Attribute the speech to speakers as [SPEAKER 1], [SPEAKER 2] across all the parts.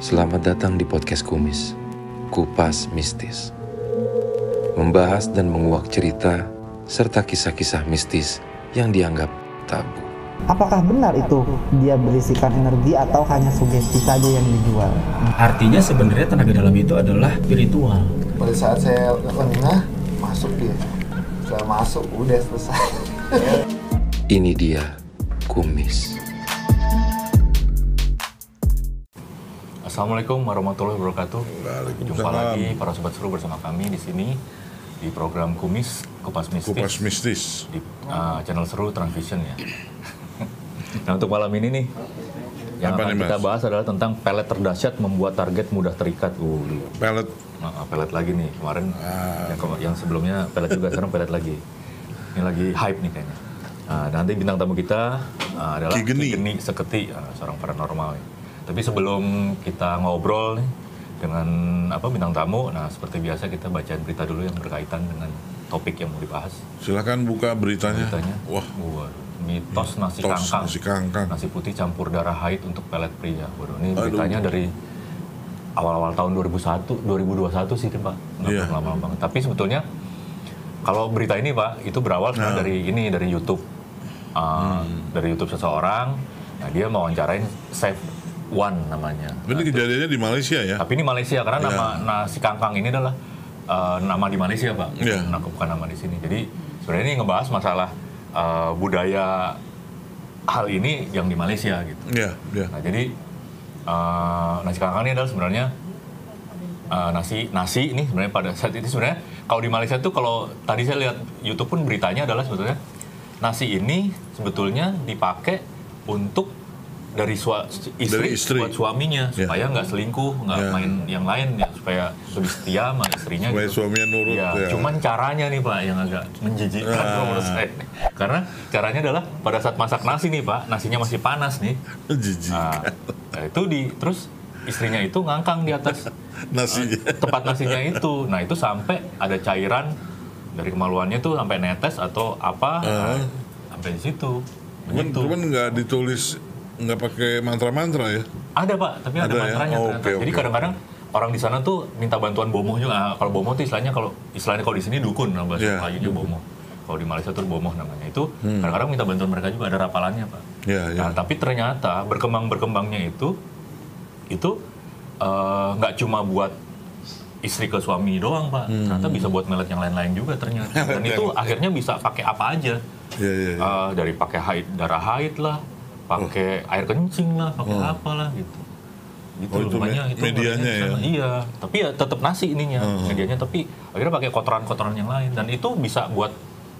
[SPEAKER 1] Selamat datang di podcast Kumis, Kupas Mistis. Membahas dan menguak cerita serta kisah-kisah mistis yang dianggap tabu.
[SPEAKER 2] Apakah benar itu dia berisikan energi atau hanya sugesti saja yang dijual?
[SPEAKER 3] Artinya sebenarnya tenaga dalam itu adalah spiritual.
[SPEAKER 4] pada saat saya lengah masuk dia saya masuk udah selesai
[SPEAKER 1] Ini dia Kumis.
[SPEAKER 5] Assalamualaikum warahmatullahi wabarakatuh. Jumpa lagi para sobat seru bersama kami di sini di program Kumis Kupas Mistis
[SPEAKER 6] Kupas mistis.
[SPEAKER 5] di uh, channel seru Transvision ya. nah untuk malam ini nih yang
[SPEAKER 6] Apa
[SPEAKER 5] akan
[SPEAKER 6] nih, Mas?
[SPEAKER 5] kita bahas adalah tentang pelet terdahsyat membuat target mudah terikat. Uh,
[SPEAKER 6] Pelet
[SPEAKER 5] Nah, pelet lagi nih kemarin
[SPEAKER 6] Ah.
[SPEAKER 5] yang, kema- yang sebelumnya pelet juga sekarang pelet lagi. Ini lagi hype nih kayaknya. Nah, nanti bintang tamu kita ah, adalah
[SPEAKER 6] Ki Geni.
[SPEAKER 5] Seketi, ah, seorang paranormal. Tapi sebelum kita ngobrol nih dengan apa bintang tamu, nah seperti biasa kita bacain berita dulu yang berkaitan dengan topik yang mau dibahas.
[SPEAKER 6] silakan buka beritanya.
[SPEAKER 5] Beritanya,
[SPEAKER 6] Wah,
[SPEAKER 5] waduh, mitos nasi
[SPEAKER 6] tos
[SPEAKER 5] kangkang.
[SPEAKER 6] nasi kangkang.
[SPEAKER 5] Nasi putih campur darah haid untuk pelet pria. Waduh, ini
[SPEAKER 6] Aduh.
[SPEAKER 5] beritanya dari awal-awal tahun 2001, 2021 sih, Pak. Nggak
[SPEAKER 6] Iya.
[SPEAKER 5] lama banget. Tapi sebetulnya kalau berita ini, Pak, itu berawal
[SPEAKER 6] Nah.
[SPEAKER 5] sebenarnya dari ini dari YouTube. Uh,
[SPEAKER 6] Hmm.
[SPEAKER 5] dari YouTube seseorang. Nah, dia mau wawancarain Save One namanya.
[SPEAKER 6] Ini kejadiannya di Malaysia ya.
[SPEAKER 5] Tapi ini Malaysia karena nama nah, nasi kangkang ini adalah uh, nama di Malaysia pak,
[SPEAKER 6] Iya.
[SPEAKER 5] Nah, bukan nama di sini. Jadi sebenarnya ini ngebahas masalah uh, budaya hal ini yang di Malaysia gitu.
[SPEAKER 6] Ya, ya.
[SPEAKER 5] Nah jadi uh, nasi kangkang ini adalah sebenarnya uh, nasi nasi ini sebenarnya pada saat itu sebenarnya kalau di Malaysia tuh kalau tadi saya lihat YouTube pun beritanya adalah sebetulnya nasi ini sebetulnya dipakai untuk dari sua- istri,
[SPEAKER 6] Dari istri.
[SPEAKER 5] buat suaminya
[SPEAKER 6] Ya.
[SPEAKER 5] supaya nggak selingkuh nggak
[SPEAKER 6] Ya.
[SPEAKER 5] main yang lain ya supaya lebih setia sama istrinya
[SPEAKER 6] Supaya
[SPEAKER 5] gitu.
[SPEAKER 6] suaminya nurut,
[SPEAKER 5] Iya,
[SPEAKER 6] ya.
[SPEAKER 5] cuman caranya nih pak yang agak menjijikkan
[SPEAKER 6] Ah.
[SPEAKER 5] menurut saya karena caranya adalah pada saat masak nasi nih pak nasinya masih panas nih
[SPEAKER 6] Jijik.
[SPEAKER 5] Nah, nah, itu di terus istrinya itu ngangkang di atas
[SPEAKER 6] Nasinya.
[SPEAKER 5] tempat nasinya itu. Nah, itu sampai ada cairan dari kemaluannya tuh sampai netes atau apa nah, sampai di situ.
[SPEAKER 6] Eh. Cuman,
[SPEAKER 5] Begitu.
[SPEAKER 6] cuman nggak ditulis nggak pakai mantra-mantra ya.
[SPEAKER 5] Ada, Pak, tapi ada,
[SPEAKER 6] Ada ya?
[SPEAKER 5] mantranya
[SPEAKER 6] Oh,
[SPEAKER 5] ternyata.
[SPEAKER 6] oke,
[SPEAKER 5] Jadi
[SPEAKER 6] oke.
[SPEAKER 5] kadang-kadang orang di sana tuh minta bantuan bomoh juga. Ah, kalau bomoh tuh istilahnya kalau istilahnya kalau di sini dukun nah bahasa
[SPEAKER 6] Iya. Hmm.
[SPEAKER 5] Melayunya bomoh. Kalau di Malaysia tuh bomoh namanya. Itu kadang-kadang minta bantuan mereka juga ada rapalannya, Pak.
[SPEAKER 6] Ya, ya.
[SPEAKER 5] Nah, tapi ternyata berkembang berkembangnya itu itu eh, nggak cuma buat istri ke suami doang pak,
[SPEAKER 6] Hmm.
[SPEAKER 5] ternyata bisa buat melet yang lain-lain juga ternyata. Dan itu
[SPEAKER 6] Iya.
[SPEAKER 5] akhirnya bisa pakai apa aja,
[SPEAKER 6] Ya, ya, ya.
[SPEAKER 5] Eh, dari pakai haid darah haid lah, pakai air kencing lah, pakai apa lah gitu. Gitu,
[SPEAKER 6] Oh, itu
[SPEAKER 5] makanya
[SPEAKER 6] me- medianya
[SPEAKER 5] ngerinya di sana. Iya, tapi ya tetap nasi ininya medianya, tapi akhirnya pakai kotoran-kotoran yang lain dan itu bisa buat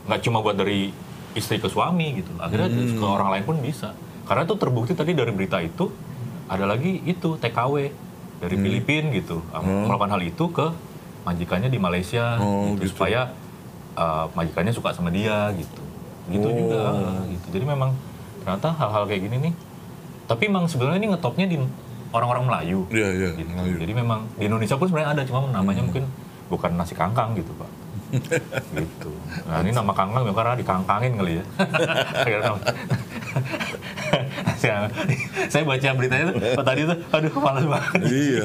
[SPEAKER 5] nggak cuma buat dari istri ke suami gitu, akhirnya ke orang lain pun bisa. Karena itu terbukti tadi dari berita itu ada lagi itu TKW dari Filipina gitu um, melakukan hal itu ke majikannya di Malaysia
[SPEAKER 6] Oh,
[SPEAKER 5] gitu,
[SPEAKER 6] gitu.
[SPEAKER 5] supaya uh, majikannya suka sama dia gitu, gitu juga gitu. Jadi memang ternyata hal-hal kayak gini nih. Tapi memang sebenarnya ini ngetopnya di orang-orang Melayu.
[SPEAKER 6] Ya, ya.
[SPEAKER 5] Gitu.
[SPEAKER 6] Melayu.
[SPEAKER 5] Jadi memang di Indonesia pun sebenarnya ada, cuma namanya mungkin bukan nasi kangkang gitu pak. gitu. Nah ini nama kangkang ya karena dikangkangin kali ya. Akhirnya nama- saya, saya baca beritanya tuh, oh, tadi tuh, aduh malas banget.
[SPEAKER 6] Iya.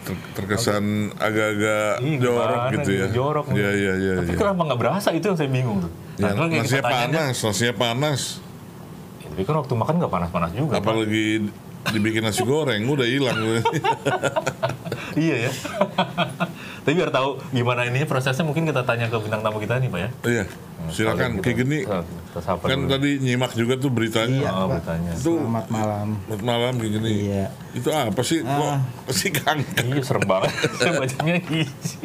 [SPEAKER 6] Ter- terkesan agak-agak
[SPEAKER 5] Ih,
[SPEAKER 6] jorok
[SPEAKER 5] gimana
[SPEAKER 6] gitu
[SPEAKER 5] nih,
[SPEAKER 6] ya.
[SPEAKER 5] Jorok.
[SPEAKER 6] Iya, iya, iya.
[SPEAKER 5] Tapi
[SPEAKER 6] iya.
[SPEAKER 5] kenapa nggak berasa itu yang saya bingung tuh.
[SPEAKER 6] Ya,
[SPEAKER 5] kalau kayak
[SPEAKER 6] nasinya
[SPEAKER 5] kita tanya,
[SPEAKER 6] panas, nasinya panas.
[SPEAKER 5] Ya, tapi kan waktu makan nggak panas-panas juga. Pak.
[SPEAKER 6] Apalagi dibikin nasi goreng, udah hilang.
[SPEAKER 5] Iya ya. Tapi biar tahu gimana ininya prosesnya mungkin kita tanya ke bintang tamu kita nih Pak ya.
[SPEAKER 6] Iya, silakan.
[SPEAKER 5] gitu.
[SPEAKER 6] Ki Geni,
[SPEAKER 5] Ah. Terus apa
[SPEAKER 6] kan
[SPEAKER 5] dulu?
[SPEAKER 6] tadi Iya. nyimak juga tuh beritanya.
[SPEAKER 5] Oh, bertanya.
[SPEAKER 6] Itu
[SPEAKER 2] Iya, Selamat malam.
[SPEAKER 6] Selamat malam Ki Geni.
[SPEAKER 2] Iya. Ah.
[SPEAKER 6] Itu apa sih? Kok si kanker?
[SPEAKER 5] Iya serem banget. Saya bacanya gizi.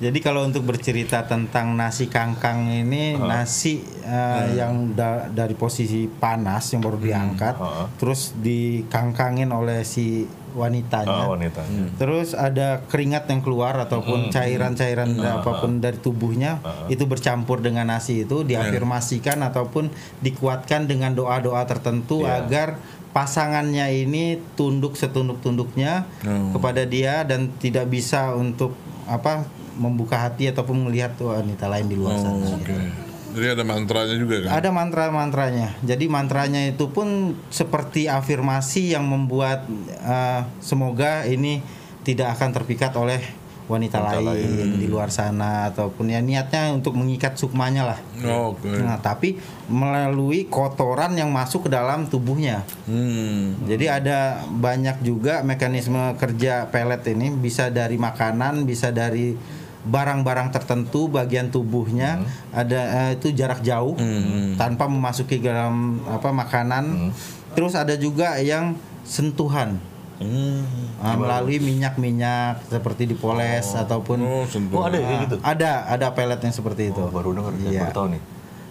[SPEAKER 2] Jadi kalau untuk bercerita tentang nasi kangkang ini nasi eh, yang da- dari posisi panas yang baru diangkat,
[SPEAKER 5] ha.
[SPEAKER 2] terus dikangkangin oleh si wanitanya.
[SPEAKER 5] Oh, wanitanya.
[SPEAKER 2] Terus ada keringat yang keluar ataupun cairan-cairan apapun dari tubuhnya itu bercampur dengan nasi itu diafirmasikan ataupun dikuatkan dengan doa-doa tertentu agar pasangannya ini tunduk setunduk-tunduknya kepada dia dan tidak bisa untuk apa membuka hati ataupun melihat wanita lain di luar sana.
[SPEAKER 6] Oke. Jadi ada mantranya juga kan?
[SPEAKER 2] Ada mantra-mantranya. Jadi mantranya itu pun seperti afirmasi yang membuat eh, semoga ini tidak akan terpikat oleh wanita lain, gitu, di luar sana ataupun ya niatnya untuk mengikat sukmanya lah.
[SPEAKER 6] Oh, Oke.
[SPEAKER 2] Nah, tapi melalui kotoran yang masuk ke dalam tubuhnya.
[SPEAKER 6] Hmm.
[SPEAKER 2] Jadi ada banyak juga mekanisme kerja pelet ini bisa dari makanan, bisa dari barang-barang tertentu bagian
[SPEAKER 5] Hmm.
[SPEAKER 2] tubuhnya ada eh, itu jarak jauh tanpa memasuki ke dalam apa makanan.
[SPEAKER 5] Hmm.
[SPEAKER 2] Terus ada juga yang sentuhan
[SPEAKER 6] Hmm.
[SPEAKER 2] eh, melalui minyak-minyak seperti dipoles ataupun
[SPEAKER 6] Oh, sentuh.
[SPEAKER 5] Oh ada ya kayak gitu.
[SPEAKER 2] ada ada pelet yang seperti itu.
[SPEAKER 5] Oh, baru dengar
[SPEAKER 2] Iya.
[SPEAKER 5] baru tahu nih.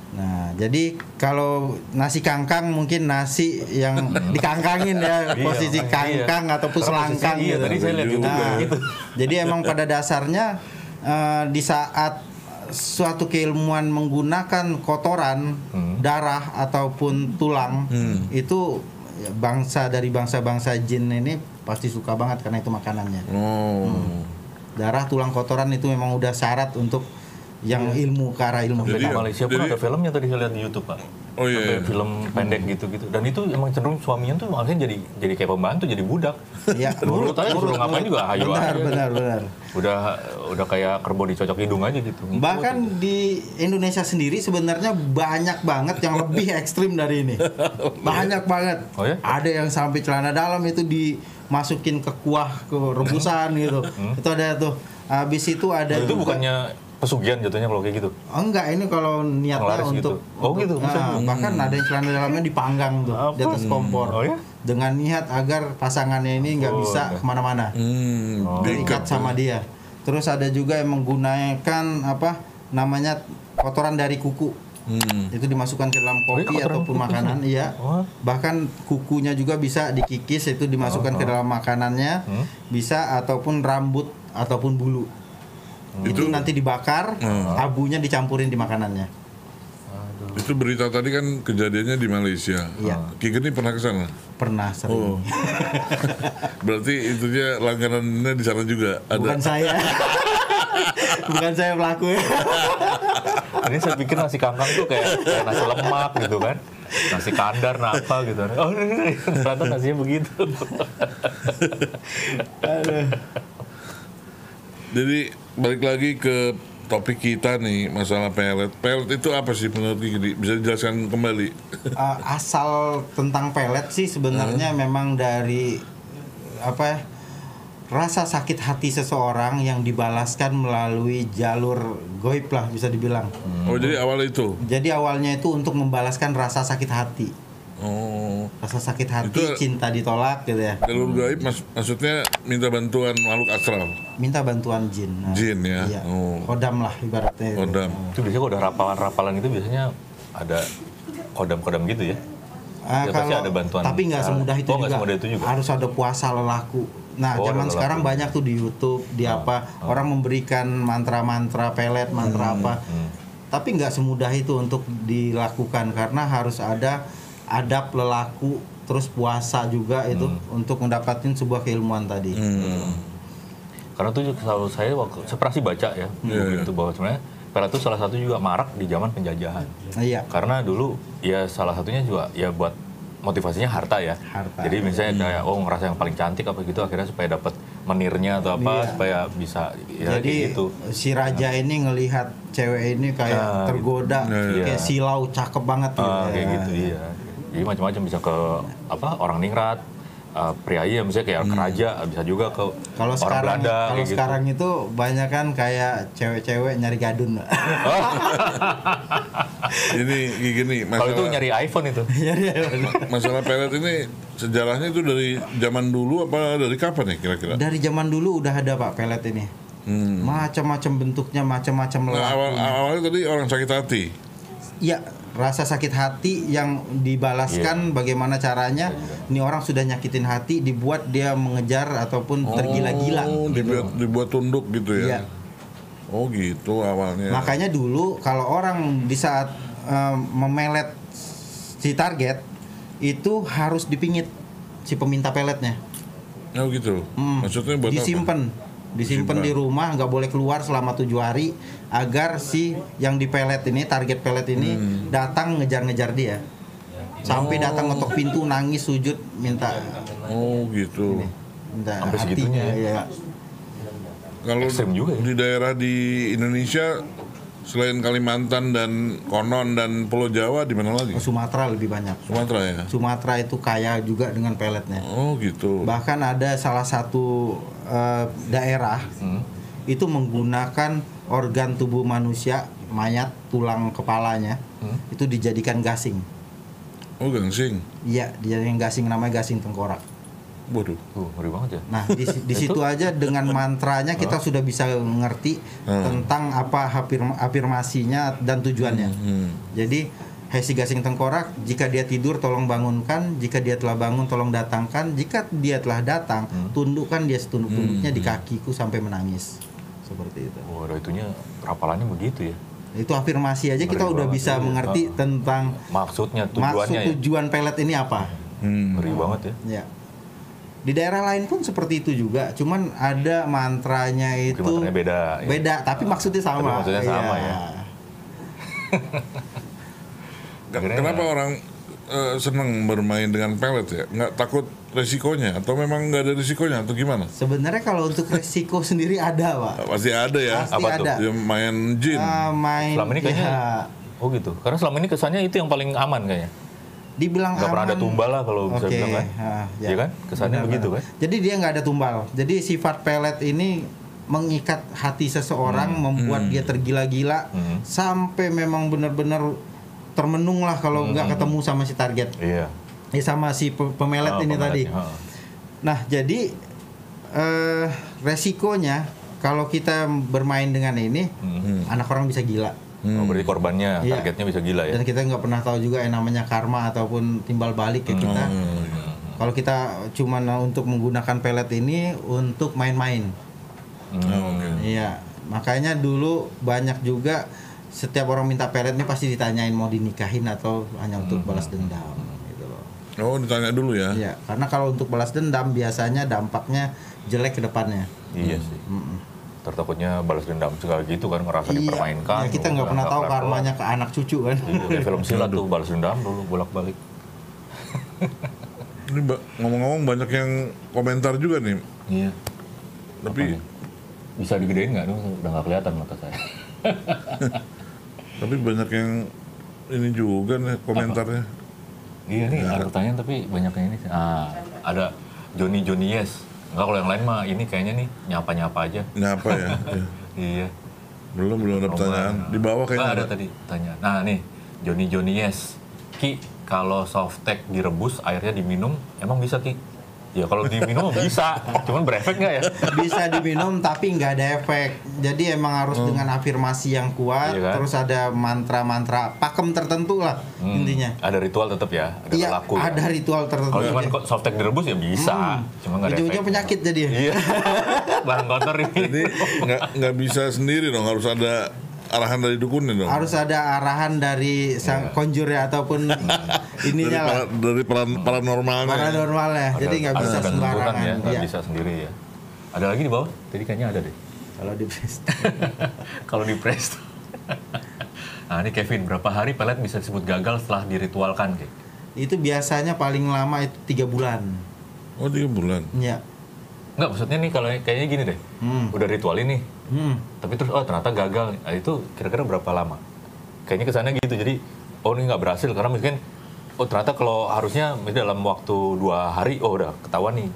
[SPEAKER 2] Nah, jadi kalau nasi kangkang mungkin nasi yang dikangkangin ya
[SPEAKER 5] Iya,
[SPEAKER 2] posisi
[SPEAKER 5] makanya
[SPEAKER 2] kangkang
[SPEAKER 5] iya. Karena
[SPEAKER 2] ataupun
[SPEAKER 5] posisi-
[SPEAKER 2] selangkang
[SPEAKER 5] iya,
[SPEAKER 2] gitu.
[SPEAKER 5] tadi saya lihat juga
[SPEAKER 2] Nah,
[SPEAKER 5] gitu.
[SPEAKER 2] Jadi emang pada dasarnya eh, di saat suatu keilmuan menggunakan kotoran,
[SPEAKER 5] Hmm.
[SPEAKER 2] darah ataupun tulang itu ya, bangsa dari bangsa-bangsa jin ini pasti suka banget karena itu makanannya
[SPEAKER 6] Oh.
[SPEAKER 2] Hmm. darah tulang kotoran itu memang udah syarat untuk yang
[SPEAKER 5] Iya.
[SPEAKER 2] ilmu ke arah ilmu
[SPEAKER 5] Di
[SPEAKER 6] Jadi- ya,
[SPEAKER 5] Malaysia pun ada
[SPEAKER 6] jadi-
[SPEAKER 5] filmnya tadi saya lihat di YouTube pak.
[SPEAKER 6] Oh, iya,
[SPEAKER 5] Sampai
[SPEAKER 6] iya.
[SPEAKER 5] film pendek gitu-gitu. Dan itu emang cenderung suaminya tuh akhirnya jadi jadi kayak pembantu, jadi budak.
[SPEAKER 2] Iya,
[SPEAKER 5] Nurut aja suruh ngapain juga hayu
[SPEAKER 2] benar
[SPEAKER 5] aja.
[SPEAKER 2] benar benar
[SPEAKER 5] Udah udah kayak kerbau dicocok hidung aja gitu.
[SPEAKER 2] bahkan di Indonesia sendiri sebenarnya banyak banget yang lebih ekstrim dari ini banyak banget
[SPEAKER 5] Oh ya?
[SPEAKER 2] ada yang sampai celana dalam itu dimasukin ke kuah ke rebusan gitu itu ada tuh habis itu ada
[SPEAKER 5] Hmm. itu
[SPEAKER 2] juga-
[SPEAKER 5] bukannya pesugihan jatuhnya kalau kayak gitu.
[SPEAKER 2] Oh, enggak ini kalau niatnya
[SPEAKER 5] Penglaris
[SPEAKER 2] untuk
[SPEAKER 5] gitu. Oh,
[SPEAKER 2] untuk-
[SPEAKER 5] gitu,
[SPEAKER 2] nah,
[SPEAKER 5] bisa.
[SPEAKER 2] bahkan ada yang celana dalamnya dipanggang tuh di atas kompor
[SPEAKER 5] Oh, ya?
[SPEAKER 2] dengan niat agar pasangannya ini nggak
[SPEAKER 5] Oh, iya.
[SPEAKER 2] bisa kemana-mana
[SPEAKER 6] Hmm.
[SPEAKER 2] terikat Oh, sama dia. Terus ada juga yang menggunakan apa namanya kotoran dari kuku. Itu dimasukkan ke dalam
[SPEAKER 5] iya,
[SPEAKER 2] kopi
[SPEAKER 5] kotoran
[SPEAKER 2] ataupun
[SPEAKER 5] kuku
[SPEAKER 2] makanan, iya.
[SPEAKER 5] Oh.
[SPEAKER 2] Bahkan kukunya juga bisa dikikis itu dimasukkan ke dalam makanannya, bisa ataupun rambut ataupun bulu. Itu nanti dibakar, abunya dicampurin di makanannya.
[SPEAKER 6] Itu berita tadi kan kejadiannya di Malaysia. Ah,
[SPEAKER 2] Iya.
[SPEAKER 6] Ki Geni pernah ke sana?
[SPEAKER 2] Pernah sering.
[SPEAKER 6] Oh. Berarti itunya langganannya di sana juga ada.
[SPEAKER 2] Bukan saya. Bukan saya pelaku. ya.
[SPEAKER 5] Ini saya pikir nasi kangkang tuh kayak, kayak nasi lemak gitu kan. Nasi kandar, napa gitu. Oh, ini- ini. ternyata nasinya begitu.
[SPEAKER 6] Jadi balik lagi ke topik kita nih masalah pelet. Pelet itu apa sih menurut Ki Geni? Bisa dijelaskan kembali?
[SPEAKER 2] Uh, asal tentang pelet
[SPEAKER 6] Eh.
[SPEAKER 2] sih sebenarnya memang dari apa ya, rasa sakit hati seseorang yang dibalaskan melalui jalur goib lah bisa dibilang.
[SPEAKER 6] Oh jadi awal itu.
[SPEAKER 2] Jadi awalnya itu untuk membalaskan rasa sakit hati,
[SPEAKER 6] Oh.
[SPEAKER 2] rasa sakit hati,
[SPEAKER 6] Itu-
[SPEAKER 2] cinta ditolak gitu ya.
[SPEAKER 6] Jalur gaib mas- maksudnya minta bantuan makhluk astral.
[SPEAKER 2] Minta bantuan jin. Nah,
[SPEAKER 6] Jin, ya?
[SPEAKER 2] Iya.
[SPEAKER 6] Oh.
[SPEAKER 2] Kodam lah ibaratnya. itu.
[SPEAKER 6] Kodam.
[SPEAKER 5] itu biasanya kalau udah rapalan-rapalan itu biasanya ada kodam-kodam gitu ya.
[SPEAKER 2] Ah,
[SPEAKER 5] Ya, pasti ada bantuan.
[SPEAKER 2] Tapi nggak
[SPEAKER 5] Ah,
[SPEAKER 2] semudah itu
[SPEAKER 5] oh, nggak
[SPEAKER 2] juga.
[SPEAKER 5] semudah itu juga.
[SPEAKER 2] Harus ada puasa lelaku. Nah,
[SPEAKER 5] Oh,
[SPEAKER 2] zaman
[SPEAKER 5] ada
[SPEAKER 2] sekarang
[SPEAKER 5] lelaku. Ah,
[SPEAKER 2] banyak tuh di YouTube, di apa orang memberikan mantra-mantra pelet,
[SPEAKER 5] Hmm,
[SPEAKER 2] mantra apa. Tapi nggak semudah itu untuk dilakukan karena harus ada adab lelaku, terus puasa juga itu
[SPEAKER 5] Hmm.
[SPEAKER 2] untuk mendapatkan sebuah keilmuan tadi.
[SPEAKER 5] Karena itu selalu saya waktu saya pernah sih baca ya
[SPEAKER 2] Iya,
[SPEAKER 5] buku itu bahwa sebenarnya Pera itu salah satu juga marak di zaman penjajahan.
[SPEAKER 2] Nah, iya.
[SPEAKER 5] Karena dulu ya salah satunya juga ya buat motivasinya harta ya.
[SPEAKER 2] Harta.
[SPEAKER 5] Jadi misalnya kayak oh ngerasa yang paling cantik apa gitu akhirnya supaya dapat menirnya atau apa
[SPEAKER 2] Iya.
[SPEAKER 5] supaya bisa ya
[SPEAKER 2] Jadi
[SPEAKER 5] kayak gitu.
[SPEAKER 2] si raja ini ngelihat cewek ini kayak
[SPEAKER 5] Ah,
[SPEAKER 2] tergoda,
[SPEAKER 5] Iya.
[SPEAKER 2] kayak silau cakep banget gitu.
[SPEAKER 5] Ah, kayak
[SPEAKER 2] ya.
[SPEAKER 5] gitu iya. Jadi macam-macam bisa ke apa orang ningrat, eh priayi ya misalnya kayak keraja bisa juga ke
[SPEAKER 2] Hmm. Kalau
[SPEAKER 5] orang
[SPEAKER 2] sekarang
[SPEAKER 5] Belanda
[SPEAKER 2] kalau
[SPEAKER 5] kayak gitu.
[SPEAKER 2] sekarang itu banyak kan kayak cewek-cewek nyari gadun.
[SPEAKER 6] Ini Ki Geni
[SPEAKER 5] Kalau itu
[SPEAKER 6] masalah
[SPEAKER 5] nyari iPhone itu.
[SPEAKER 2] Iya.
[SPEAKER 6] masalah pelet ini sejarahnya itu dari zaman dulu apa dari kapan ya kira-kira?
[SPEAKER 2] Dari zaman dulu udah ada Pak pelet ini.
[SPEAKER 6] Hmm.
[SPEAKER 2] Macam-macam bentuknya, macam-macam
[SPEAKER 6] Nah,
[SPEAKER 2] lelaku.
[SPEAKER 6] awal awalnya tadi orang sakit hati.
[SPEAKER 2] Iya, rasa sakit hati yang dibalaskan bagaimana caranya? Ini orang sudah nyakitin hati dibuat dia mengejar ataupun tergila-gila. gitu.
[SPEAKER 6] Oh, dibuat dibuat tunduk gitu ya.
[SPEAKER 2] Iya.
[SPEAKER 6] Oh gitu awalnya.
[SPEAKER 2] Makanya dulu kalau orang di saat eh, memelet si target itu harus dipingit si peminta peletnya.
[SPEAKER 6] Oh gitu.
[SPEAKER 2] Hmm.
[SPEAKER 6] Maksudnya buat apa?
[SPEAKER 2] disimpan disimpan di rumah nggak boleh keluar selama tujuh hari agar si yang di pelet ini target pelet ini datang ngejar-ngejar dia sampai datang ngetok pintu nangis sujud minta
[SPEAKER 6] Oh gitu.
[SPEAKER 2] minta
[SPEAKER 5] Sampai
[SPEAKER 2] hatinya
[SPEAKER 5] segitunya.
[SPEAKER 2] ya
[SPEAKER 6] Kalau
[SPEAKER 5] Ekstrem juga ya.
[SPEAKER 6] di daerah di Indonesia selain Kalimantan dan Konon dan Pulau Jawa di mana lagi?
[SPEAKER 2] Sumatera lebih banyak
[SPEAKER 6] Sumatera ya.
[SPEAKER 2] Sumatera itu kaya juga dengan peletnya
[SPEAKER 6] Oh gitu.
[SPEAKER 2] bahkan ada salah satu eh, daerah itu menggunakan organ tubuh manusia mayat tulang kepalanya itu dijadikan gasing
[SPEAKER 6] Oh gangsing.
[SPEAKER 2] iya dijadikan gasing namanya gasing tengkorak
[SPEAKER 6] Waduh.
[SPEAKER 5] Tuh, ngeri banget ya.
[SPEAKER 2] nah di, di situ aja dengan mantranya kita sudah bisa ngerti tentang apa afirm- afirmasinya dan tujuannya
[SPEAKER 5] Hmm,
[SPEAKER 2] jadi Hesi gasing tengkorak, jika dia tidur tolong bangunkan, jika dia telah bangun tolong datangkan, jika dia telah datang
[SPEAKER 5] Hmm.
[SPEAKER 2] tundukkan dia setunduk-tunduknya di kakiku sampai menangis. Seperti itu.
[SPEAKER 5] Wah, ada itunya rapalannya begitu ya.
[SPEAKER 2] Itu afirmasi aja kita
[SPEAKER 5] Ngeri
[SPEAKER 2] udah
[SPEAKER 5] banget
[SPEAKER 2] bisa
[SPEAKER 5] ini.
[SPEAKER 2] mengerti
[SPEAKER 5] Ah.
[SPEAKER 2] tentang
[SPEAKER 5] Maksudnya
[SPEAKER 2] maksud
[SPEAKER 5] tujuannya ya.
[SPEAKER 2] tujuan pelet ini apa.
[SPEAKER 6] Hmm.
[SPEAKER 5] Ngeri banget ya.
[SPEAKER 2] Ya. Di daerah lain pun seperti itu juga, cuman ada mantranya itu
[SPEAKER 5] mantranya beda, ya.
[SPEAKER 2] Beda, tapi maksudnya sama.
[SPEAKER 5] Tapi maksudnya sama,
[SPEAKER 2] Iya.
[SPEAKER 5] ya.
[SPEAKER 6] Ke-
[SPEAKER 5] Akhirnya-
[SPEAKER 6] Kenapa orang eh, seneng bermain dengan pelet ya? Nggak takut resikonya atau memang nggak ada resikonya atau gimana?
[SPEAKER 2] Sebenarnya kalau untuk resiko sendiri ada, Pak.
[SPEAKER 6] Pasti ada ya.
[SPEAKER 2] Pasti
[SPEAKER 5] Apa tuh? Iya.
[SPEAKER 2] ada.
[SPEAKER 6] Dia main jin.
[SPEAKER 2] Ah, main
[SPEAKER 5] Selama ini kayaknya
[SPEAKER 2] ya,
[SPEAKER 5] Oh gitu. Karena selama ini kesannya itu yang paling aman kayaknya.
[SPEAKER 2] dibilang
[SPEAKER 5] Nggak pernah ada
[SPEAKER 2] aman.
[SPEAKER 5] tumbal lah kalau bisa
[SPEAKER 2] Oke,
[SPEAKER 5] bilang kan.
[SPEAKER 2] ah,
[SPEAKER 5] Iya kan? Kesannya
[SPEAKER 2] Benar,
[SPEAKER 5] begitu
[SPEAKER 2] benar.
[SPEAKER 5] kan?
[SPEAKER 2] Jadi dia nggak ada tumbal. Jadi sifat pelet ini mengikat hati seseorang,
[SPEAKER 5] Hmm.
[SPEAKER 2] membuat dia tergila-gila sampai memang benar-benar termenung lah kalau nggak
[SPEAKER 5] Hmm.
[SPEAKER 2] ketemu sama si target.
[SPEAKER 5] Iya.
[SPEAKER 2] Ya sama si pe- Oh, pemelet ya,
[SPEAKER 5] Ah,
[SPEAKER 2] ini tadi.
[SPEAKER 5] pemeletnya, ah.
[SPEAKER 2] Nah, jadi eh resikonya kalau kita bermain dengan ini, anak orang bisa gila.
[SPEAKER 5] Oh, berarti korbannya,
[SPEAKER 2] Iya.
[SPEAKER 5] targetnya bisa gila ya.
[SPEAKER 2] Dan kita nggak pernah tahu juga yang namanya karma ataupun timbal balik ya kita. Kalau kita cuma untuk menggunakan pelet ini untuk main-main.
[SPEAKER 6] Oh,
[SPEAKER 2] Iya, makanya dulu banyak juga setiap orang minta pelet ini pasti ditanyain mau dinikahin atau hanya untuk balas dendam gitu loh.
[SPEAKER 6] Oh ditanya dulu ya.
[SPEAKER 2] Iya, karena kalau untuk balas dendam biasanya dampaknya jelek ke depannya.
[SPEAKER 5] Iya
[SPEAKER 2] Hmm.
[SPEAKER 5] sih. Tertakutnya balas dendam segala gitu kan ngerasa
[SPEAKER 2] Iya,
[SPEAKER 5] dipermainkan.
[SPEAKER 2] ya kita nggak pernah tahu karmanya ke anak cucu kan.
[SPEAKER 5] Iya, film silat tuh balas dendam dulu bolak-balik.
[SPEAKER 6] Ini ba- ngomong-ngomong banyak yang komentar juga nih.
[SPEAKER 5] Iya.
[SPEAKER 6] Tapi
[SPEAKER 5] ya? Bisa digedein nggak? Duh, Udah nggak kelihatan mata saya.
[SPEAKER 6] tapi banyak yang ini juga nih komentarnya.
[SPEAKER 5] iya nih, ada pertanyaan tapi banyak yang ini. sih. Ah, ada Joni Joni Yes. Enggak kalau yang lain mah ini kayaknya nih nyapa-nyapa aja.
[SPEAKER 6] Nyapa ya? Iya.
[SPEAKER 5] Iya.
[SPEAKER 6] Belum belum ada pertanyaan. Di bawah kayaknya
[SPEAKER 5] Ah, ada
[SPEAKER 6] ada.
[SPEAKER 5] tadi tanya. Nah, nih Joni Joni Yes. Ki, kalau softtek direbus airnya diminum emang bisa Ki? Ya kalau diminum bisa, cuman berefek nggak ya?
[SPEAKER 2] bisa diminum tapi nggak ada efek. Jadi emang harus dengan afirmasi yang
[SPEAKER 5] Hmm.
[SPEAKER 2] kuat,
[SPEAKER 5] Iya kan?
[SPEAKER 2] terus ada mantra-mantra pakem tertentu lah intinya.
[SPEAKER 5] Ada ritual tetap ya, ada
[SPEAKER 2] Iya,
[SPEAKER 5] Hmm. laku ya.
[SPEAKER 2] ada ritual tertentu.
[SPEAKER 5] Kalau cuma
[SPEAKER 2] aja.
[SPEAKER 5] softtek direbus ya bisa, cuma nggak ada
[SPEAKER 2] Ujung-ujungnya
[SPEAKER 5] efeknya.
[SPEAKER 2] penyakit jadi. ya?
[SPEAKER 5] Iya, barang kotor
[SPEAKER 6] Jadi
[SPEAKER 5] ini.
[SPEAKER 6] nggak nggak bisa sendiri dong harus ada arahan dari dukunnya dong.
[SPEAKER 2] Harus ada arahan dari
[SPEAKER 5] Iya.
[SPEAKER 2] sang konjur ya
[SPEAKER 5] Hmm.
[SPEAKER 2] ataupun
[SPEAKER 6] dari
[SPEAKER 2] ininya lah
[SPEAKER 6] para- dari para- paranormalnya.
[SPEAKER 2] paranormalnya. Jadi nggak
[SPEAKER 5] Ada-
[SPEAKER 2] bisa
[SPEAKER 5] ada sentuhan
[SPEAKER 2] sembarangan.
[SPEAKER 5] ya, nggak
[SPEAKER 2] Iya.
[SPEAKER 5] bisa sendiri ya. Ada lagi di bawah? Tadi kayaknya ada deh.
[SPEAKER 2] Kalau di
[SPEAKER 5] Kalau di press. nah ini Kevin, berapa hari pelet bisa disebut gagal setelah diritualkan? Ki?
[SPEAKER 2] itu biasanya paling lama itu tiga bulan.
[SPEAKER 6] Oh tiga bulan.
[SPEAKER 2] Ya.
[SPEAKER 5] Nggak, maksudnya nih kalau kayaknya gini deh. Udah ritual ini,
[SPEAKER 2] Hmm.
[SPEAKER 5] tapi terus oh ternyata gagal. Nah, itu kira-kira berapa lama? Kayaknya kesannya gitu. Jadi oh ini nggak berhasil karena mungkin oh ternyata kalau harusnya mungkin dalam waktu dua hari oh udah ketahuan nih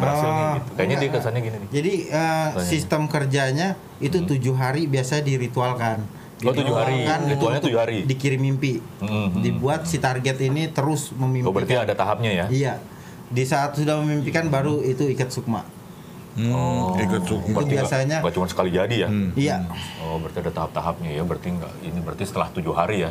[SPEAKER 5] berhasil nih.
[SPEAKER 2] Ah,
[SPEAKER 5] Gitu. Kayaknya dia
[SPEAKER 2] enggak.
[SPEAKER 5] kesannya gini nih.
[SPEAKER 2] Jadi eh, sistem kerjanya itu tujuh hari biasa diritualkan.
[SPEAKER 5] Hmm. Oh, tujuh hari.
[SPEAKER 2] Diritualkan
[SPEAKER 5] Ritualnya
[SPEAKER 2] untuk
[SPEAKER 5] tujuh hari.
[SPEAKER 2] Dikirim mimpi.
[SPEAKER 5] Mhm.
[SPEAKER 2] Dibuat si target ini terus
[SPEAKER 5] Oh
[SPEAKER 2] memimpikan.
[SPEAKER 5] berarti ada tahapnya ya?
[SPEAKER 2] Iya. Di saat sudah memimpikan baru itu ikat sukma.
[SPEAKER 6] Hmm,
[SPEAKER 2] Oh.
[SPEAKER 6] ikut
[SPEAKER 5] Itu
[SPEAKER 6] sukma.
[SPEAKER 2] Berarti biasanya-
[SPEAKER 5] nggak cuma sekali jadi ya?
[SPEAKER 2] Iya.
[SPEAKER 5] Oh berarti ada tahap-tahapnya ya? Berarti nggak ini berarti setelah tujuh hari ya?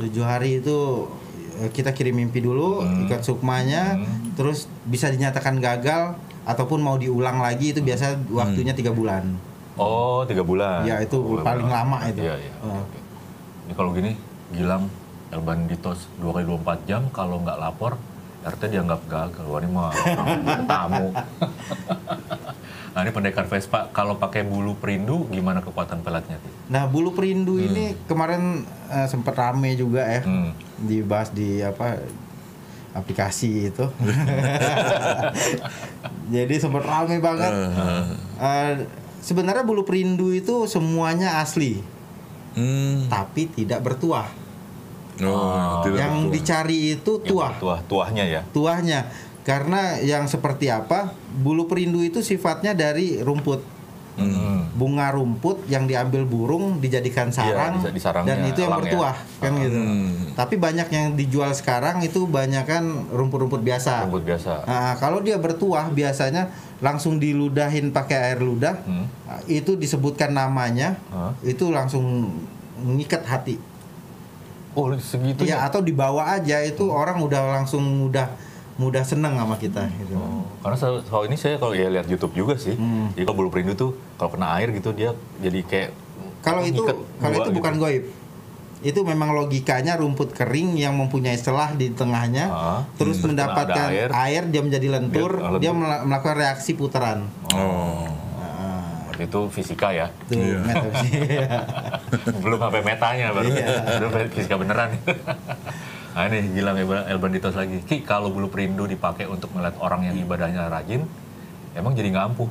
[SPEAKER 2] Tujuh hari itu eh, kita kirim mimpi dulu,
[SPEAKER 5] Hmm.
[SPEAKER 2] ikat sukmanya, terus bisa dinyatakan gagal ataupun mau diulang lagi itu biasa
[SPEAKER 5] Hmm.
[SPEAKER 2] waktunya tiga bulan.
[SPEAKER 5] Oh tiga bulan?
[SPEAKER 2] Ya, itu
[SPEAKER 5] Oh,
[SPEAKER 2] paling
[SPEAKER 5] bulan.
[SPEAKER 2] lama itu.
[SPEAKER 5] Iya iya. oke,
[SPEAKER 2] Ah.
[SPEAKER 5] oke. Ini kalau gini Gilang El Banditos dua kali 24 jam kalau nggak lapor RT dianggap gagal. Wah ini mah orang tamu. Nah ini pendekar Vespa, kalau pakai bulu perindu gimana kekuatan pelatnya?
[SPEAKER 2] Nah, bulu perindu ini kemarin eh, sempat rame juga ya. Dibahas di apa aplikasi itu. Jadi sempat rame banget. Eh, sebenarnya bulu perindu itu semuanya asli,
[SPEAKER 6] Hmm.
[SPEAKER 2] tapi tidak bertuah.
[SPEAKER 6] Oh, tidak
[SPEAKER 2] Ah. Yang
[SPEAKER 6] betul.
[SPEAKER 2] dicari itu tuah.
[SPEAKER 5] Tuah, tuahnya ya.
[SPEAKER 2] tuahnya karena yang seperti apa bulu perindu itu sifatnya dari rumput
[SPEAKER 5] Hmm.
[SPEAKER 2] bunga rumput yang diambil burung dijadikan
[SPEAKER 5] Iya,
[SPEAKER 2] sarang
[SPEAKER 5] bisa disarangnya,
[SPEAKER 2] dan itu
[SPEAKER 5] alang ya.
[SPEAKER 2] yang
[SPEAKER 5] Hmm.
[SPEAKER 2] bertuah kan gitu tapi banyak yang dijual sekarang itu banyak kan rumput-rumput biasa
[SPEAKER 5] Rumput biasa.
[SPEAKER 2] Nah, kalau dia bertuah biasanya langsung diludahin pakai air ludah itu disebutkan namanya
[SPEAKER 5] Hmm. Hah?
[SPEAKER 2] itu langsung ngikat hati
[SPEAKER 5] Oh segitu
[SPEAKER 2] ya atau dibawa aja itu
[SPEAKER 5] Hmm.
[SPEAKER 2] orang udah langsung mudah mudah seneng sama kita gitu.
[SPEAKER 5] Karena sel- soal ini saya kalau ya lihat YouTube juga sih.
[SPEAKER 2] Hmm.
[SPEAKER 5] Jadi kalau bulu perindu tuh kalau kena air gitu dia jadi kayak
[SPEAKER 2] Kalau itu
[SPEAKER 5] ngikat
[SPEAKER 2] kalau
[SPEAKER 5] dua
[SPEAKER 2] itu
[SPEAKER 5] gitu.
[SPEAKER 2] bukan goib. Itu memang logikanya rumput kering yang mempunyai celah di tengahnya
[SPEAKER 5] Ah,
[SPEAKER 2] terus
[SPEAKER 5] hmm.
[SPEAKER 2] mendapatkan
[SPEAKER 5] Terus
[SPEAKER 2] air.
[SPEAKER 5] kena ada
[SPEAKER 2] dia menjadi lentur,
[SPEAKER 5] Dia- ah, lentur.
[SPEAKER 2] dia mela- melakukan reaksi putaran.
[SPEAKER 6] Oh.
[SPEAKER 5] Berarti itu fisika ya.
[SPEAKER 2] Itu metafisika.
[SPEAKER 5] Belum sampai metanya baru.
[SPEAKER 2] Iya.
[SPEAKER 5] Belum fisika beneran. nah ini gila Elbanditos lagi. Ki kalau bulu perindu dipakai untuk melihat orang
[SPEAKER 2] Iya.
[SPEAKER 5] yang ibadahnya rajin, emang jadi nggak ampuh.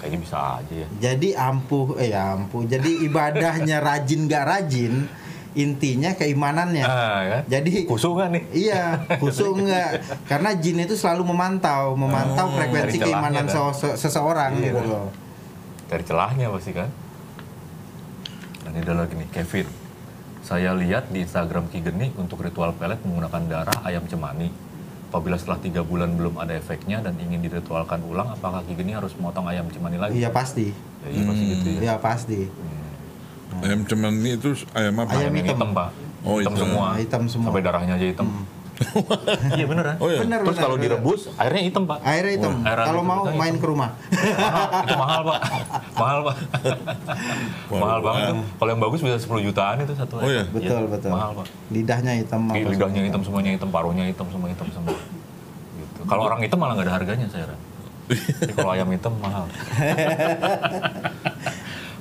[SPEAKER 5] Kayaknya bisa aja ya.
[SPEAKER 2] Jadi ampuh eh ya ampuh. Jadi ibadahnya rajin gak rajin, intinya keimanannya.
[SPEAKER 5] Ah, kan?
[SPEAKER 2] Jadi
[SPEAKER 5] Kusuk kan nih?
[SPEAKER 2] Iya, khusus enggak. Karena jin itu selalu memantau, memantau
[SPEAKER 5] Hmm, dari
[SPEAKER 2] frekuensi
[SPEAKER 5] celahnya
[SPEAKER 2] keimanan
[SPEAKER 5] kan?
[SPEAKER 2] sese- seseorang gitu loh.
[SPEAKER 5] dari celahnya pasti kan dan ini ada lagi nih Kevin saya lihat di Instagram Ki Geni untuk ritual pelet menggunakan darah ayam cemani apabila setelah tiga bulan belum ada efeknya dan ingin diritualkan ulang apakah Ki Geni harus motong ayam cemani lagi
[SPEAKER 2] Iya pasti.
[SPEAKER 5] ya, iya pasti gitu ya
[SPEAKER 2] Iya pasti.
[SPEAKER 6] Ayam cemani itu ayam apa?
[SPEAKER 2] Ayam
[SPEAKER 5] yang hitam
[SPEAKER 2] hitam.
[SPEAKER 5] pak
[SPEAKER 6] Oh,
[SPEAKER 5] hitam
[SPEAKER 6] hitam.
[SPEAKER 5] semua
[SPEAKER 2] Nah, hitam semua.
[SPEAKER 5] sampai darahnya aja hitam iya beneran
[SPEAKER 6] Oh, iya.
[SPEAKER 2] Hmm. Bener,
[SPEAKER 5] terus
[SPEAKER 2] bener,
[SPEAKER 5] kalau
[SPEAKER 2] bener.
[SPEAKER 5] direbus airnya hitam pak
[SPEAKER 2] Airnya hitam.
[SPEAKER 5] Wah, airnya
[SPEAKER 2] Kalau
[SPEAKER 5] hitam,
[SPEAKER 2] mau
[SPEAKER 5] hitam,
[SPEAKER 2] main ke rumah.
[SPEAKER 5] Iya, mahal, itu mahal pak mahal pak mahal banget tuh kalau yang bagus bisa 10 jutaan itu satu
[SPEAKER 6] Oh, iya?
[SPEAKER 2] betul, betul.
[SPEAKER 5] mahal Iya, pak
[SPEAKER 2] Lidahnya hitam
[SPEAKER 5] Kayak
[SPEAKER 2] apa
[SPEAKER 5] lidahnya
[SPEAKER 2] semua.
[SPEAKER 5] hitam semuanya hitam paruhnya hitam semua hitam semua gitu kalau orang hitam malah nggak ada harganya saya Ran. Tapi kalau ayam hitam mahal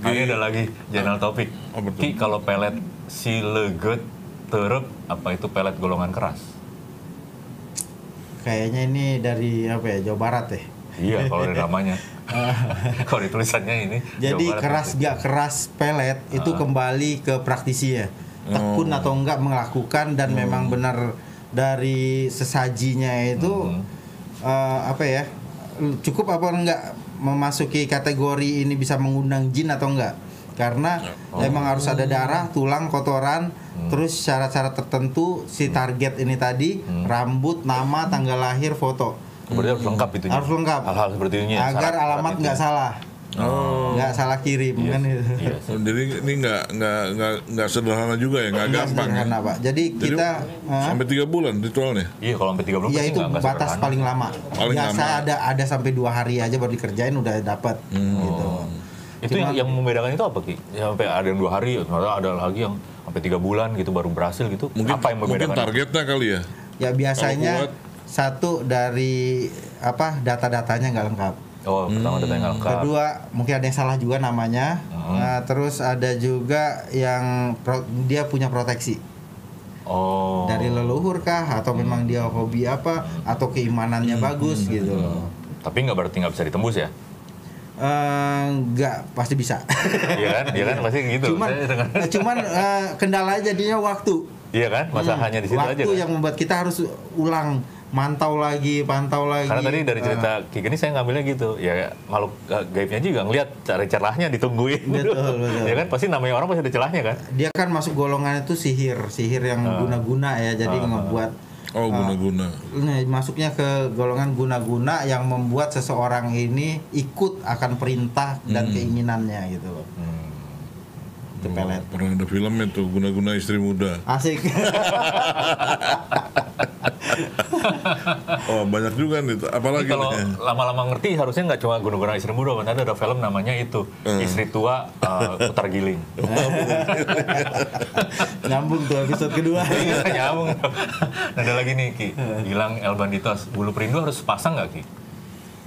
[SPEAKER 5] Nah, ini ada lagi jurnal topik
[SPEAKER 6] Oh, betul.
[SPEAKER 5] Ki kalau pelet sileget terep apa itu pelet golongan keras
[SPEAKER 2] Kayaknya ini dari apa ya? Jawa Barat ya.
[SPEAKER 5] iya kalau ada namanya kalau ditulisannya ini
[SPEAKER 2] Jadi
[SPEAKER 5] Jawa Barat Ah.
[SPEAKER 2] keras
[SPEAKER 5] pasti.
[SPEAKER 2] gak keras pelet itu kembali ke praktisinya. Tekun
[SPEAKER 5] Hmm.
[SPEAKER 2] atau enggak melakukan dan memang benar dari sesajinya itu
[SPEAKER 5] Hmm.
[SPEAKER 2] eh, apa ya? Cukup apa enggak memasuki kategori ini bisa mengundang jin atau enggak? Karena
[SPEAKER 5] Ya, oh.
[SPEAKER 2] emang harus ada darah, tulang, kotoran,
[SPEAKER 5] Hmm.
[SPEAKER 2] terus syarat-syarat tertentu si target ini tadi
[SPEAKER 5] Hmm.
[SPEAKER 2] rambut, nama, tanggal lahir, foto.
[SPEAKER 5] berarti harus lengkap itu
[SPEAKER 2] Harus lengkap.
[SPEAKER 5] hal-hal seperti ini ya,
[SPEAKER 2] agar
[SPEAKER 5] syarat-syarat
[SPEAKER 2] alamat
[SPEAKER 5] itu. Oh.
[SPEAKER 2] nggak salah. Nggak salah kirim
[SPEAKER 5] Iya
[SPEAKER 2] kan
[SPEAKER 5] sih,
[SPEAKER 2] itu.
[SPEAKER 5] iya sih.
[SPEAKER 6] Oh, jadi ini nggak nggak nggak nggak sederhana juga ya, nggak
[SPEAKER 2] Nggak
[SPEAKER 6] gampang. ya?
[SPEAKER 2] sederhana, Pak. Jadi,
[SPEAKER 6] Jadi,
[SPEAKER 2] kita eh,
[SPEAKER 6] sampai tiga bulan ritualnya.
[SPEAKER 5] Iya, kalau sampai 30
[SPEAKER 2] ya
[SPEAKER 5] pasti
[SPEAKER 2] itu
[SPEAKER 5] nggak- nggak
[SPEAKER 2] batas
[SPEAKER 5] sederhana.
[SPEAKER 2] paling lama.
[SPEAKER 6] Paling
[SPEAKER 2] Biasa
[SPEAKER 6] lama.
[SPEAKER 2] ada ada sampai dua hari aja baru dikerjain udah dapat gitu.
[SPEAKER 5] Itu yang, yang membedakan itu apa Ki? Ya, sampai ada yang dua hari, ternyata ada lagi yang sampai tiga bulan gitu baru berhasil gitu.
[SPEAKER 6] Mungkin
[SPEAKER 5] apa yang
[SPEAKER 6] mungkin
[SPEAKER 5] membedakan?
[SPEAKER 6] targetnya kali ya.
[SPEAKER 2] Ya biasanya
[SPEAKER 6] kuat-
[SPEAKER 2] satu dari apa data-datanya nggak lengkap.
[SPEAKER 5] Oh, pertama data yang nggak lengkap.
[SPEAKER 2] Hmm. Kedua mungkin ada yang salah juga namanya. Nah, terus ada juga yang pro- dia punya proteksi.
[SPEAKER 5] Oh.
[SPEAKER 2] dari leluhur kah atau memang dia hobi apa atau keimanannya bagus gitu loh
[SPEAKER 5] Tapi nggak berarti nggak bisa ditembus ya?
[SPEAKER 2] Eh, nggak pasti bisa
[SPEAKER 5] Iya kan? Iya kan pasti gitu.
[SPEAKER 2] cuman
[SPEAKER 5] Saya dengar.
[SPEAKER 2] eh, cuman eh, kendala jadinya waktu
[SPEAKER 5] Iya kan? Masa hanya di situ aja
[SPEAKER 2] Hmm. waktu
[SPEAKER 5] kan?
[SPEAKER 2] yang membuat kita harus ulang mantau lagi pantau lagi Eh, Ah.
[SPEAKER 5] Karena tadi dari cerita Ki Geni saya ngambilnya gitu. Ya makhluk eh, gaibnya juga ngelihat cara celahnya ditungguin.
[SPEAKER 2] Betul, betul.
[SPEAKER 5] Iya kan? Pasti namanya orang pasti ada celahnya kan?
[SPEAKER 2] dia kan masuk golongan itu sihir sihir yang
[SPEAKER 5] Ah.
[SPEAKER 2] guna-guna ya jadi ngebuat
[SPEAKER 6] Oh guna-guna.
[SPEAKER 2] Nah, masuknya ke golongan guna-guna yang membuat seseorang ini ikut akan perintah
[SPEAKER 5] Hmm.
[SPEAKER 2] dan keinginannya gitu loh. Itu pelet.
[SPEAKER 6] Pernah ada film itu guna-guna istri muda.
[SPEAKER 2] Asik.
[SPEAKER 6] Oh banyak juga nih.
[SPEAKER 5] Tapi
[SPEAKER 6] Apalagi
[SPEAKER 5] kalau
[SPEAKER 6] nih?
[SPEAKER 5] lama-lama ngerti harusnya nggak cuma guna-guna istri muda, kan ada, ada film namanya itu
[SPEAKER 2] Hmm.
[SPEAKER 5] istri tua eh, putar giling.
[SPEAKER 2] Nyambung tuh episode kedua.
[SPEAKER 5] Nggak Iya, nyambung. Nah, ada lagi nih Ki, Gilang El Banditos, bulu perindu harus pasang nggak Ki?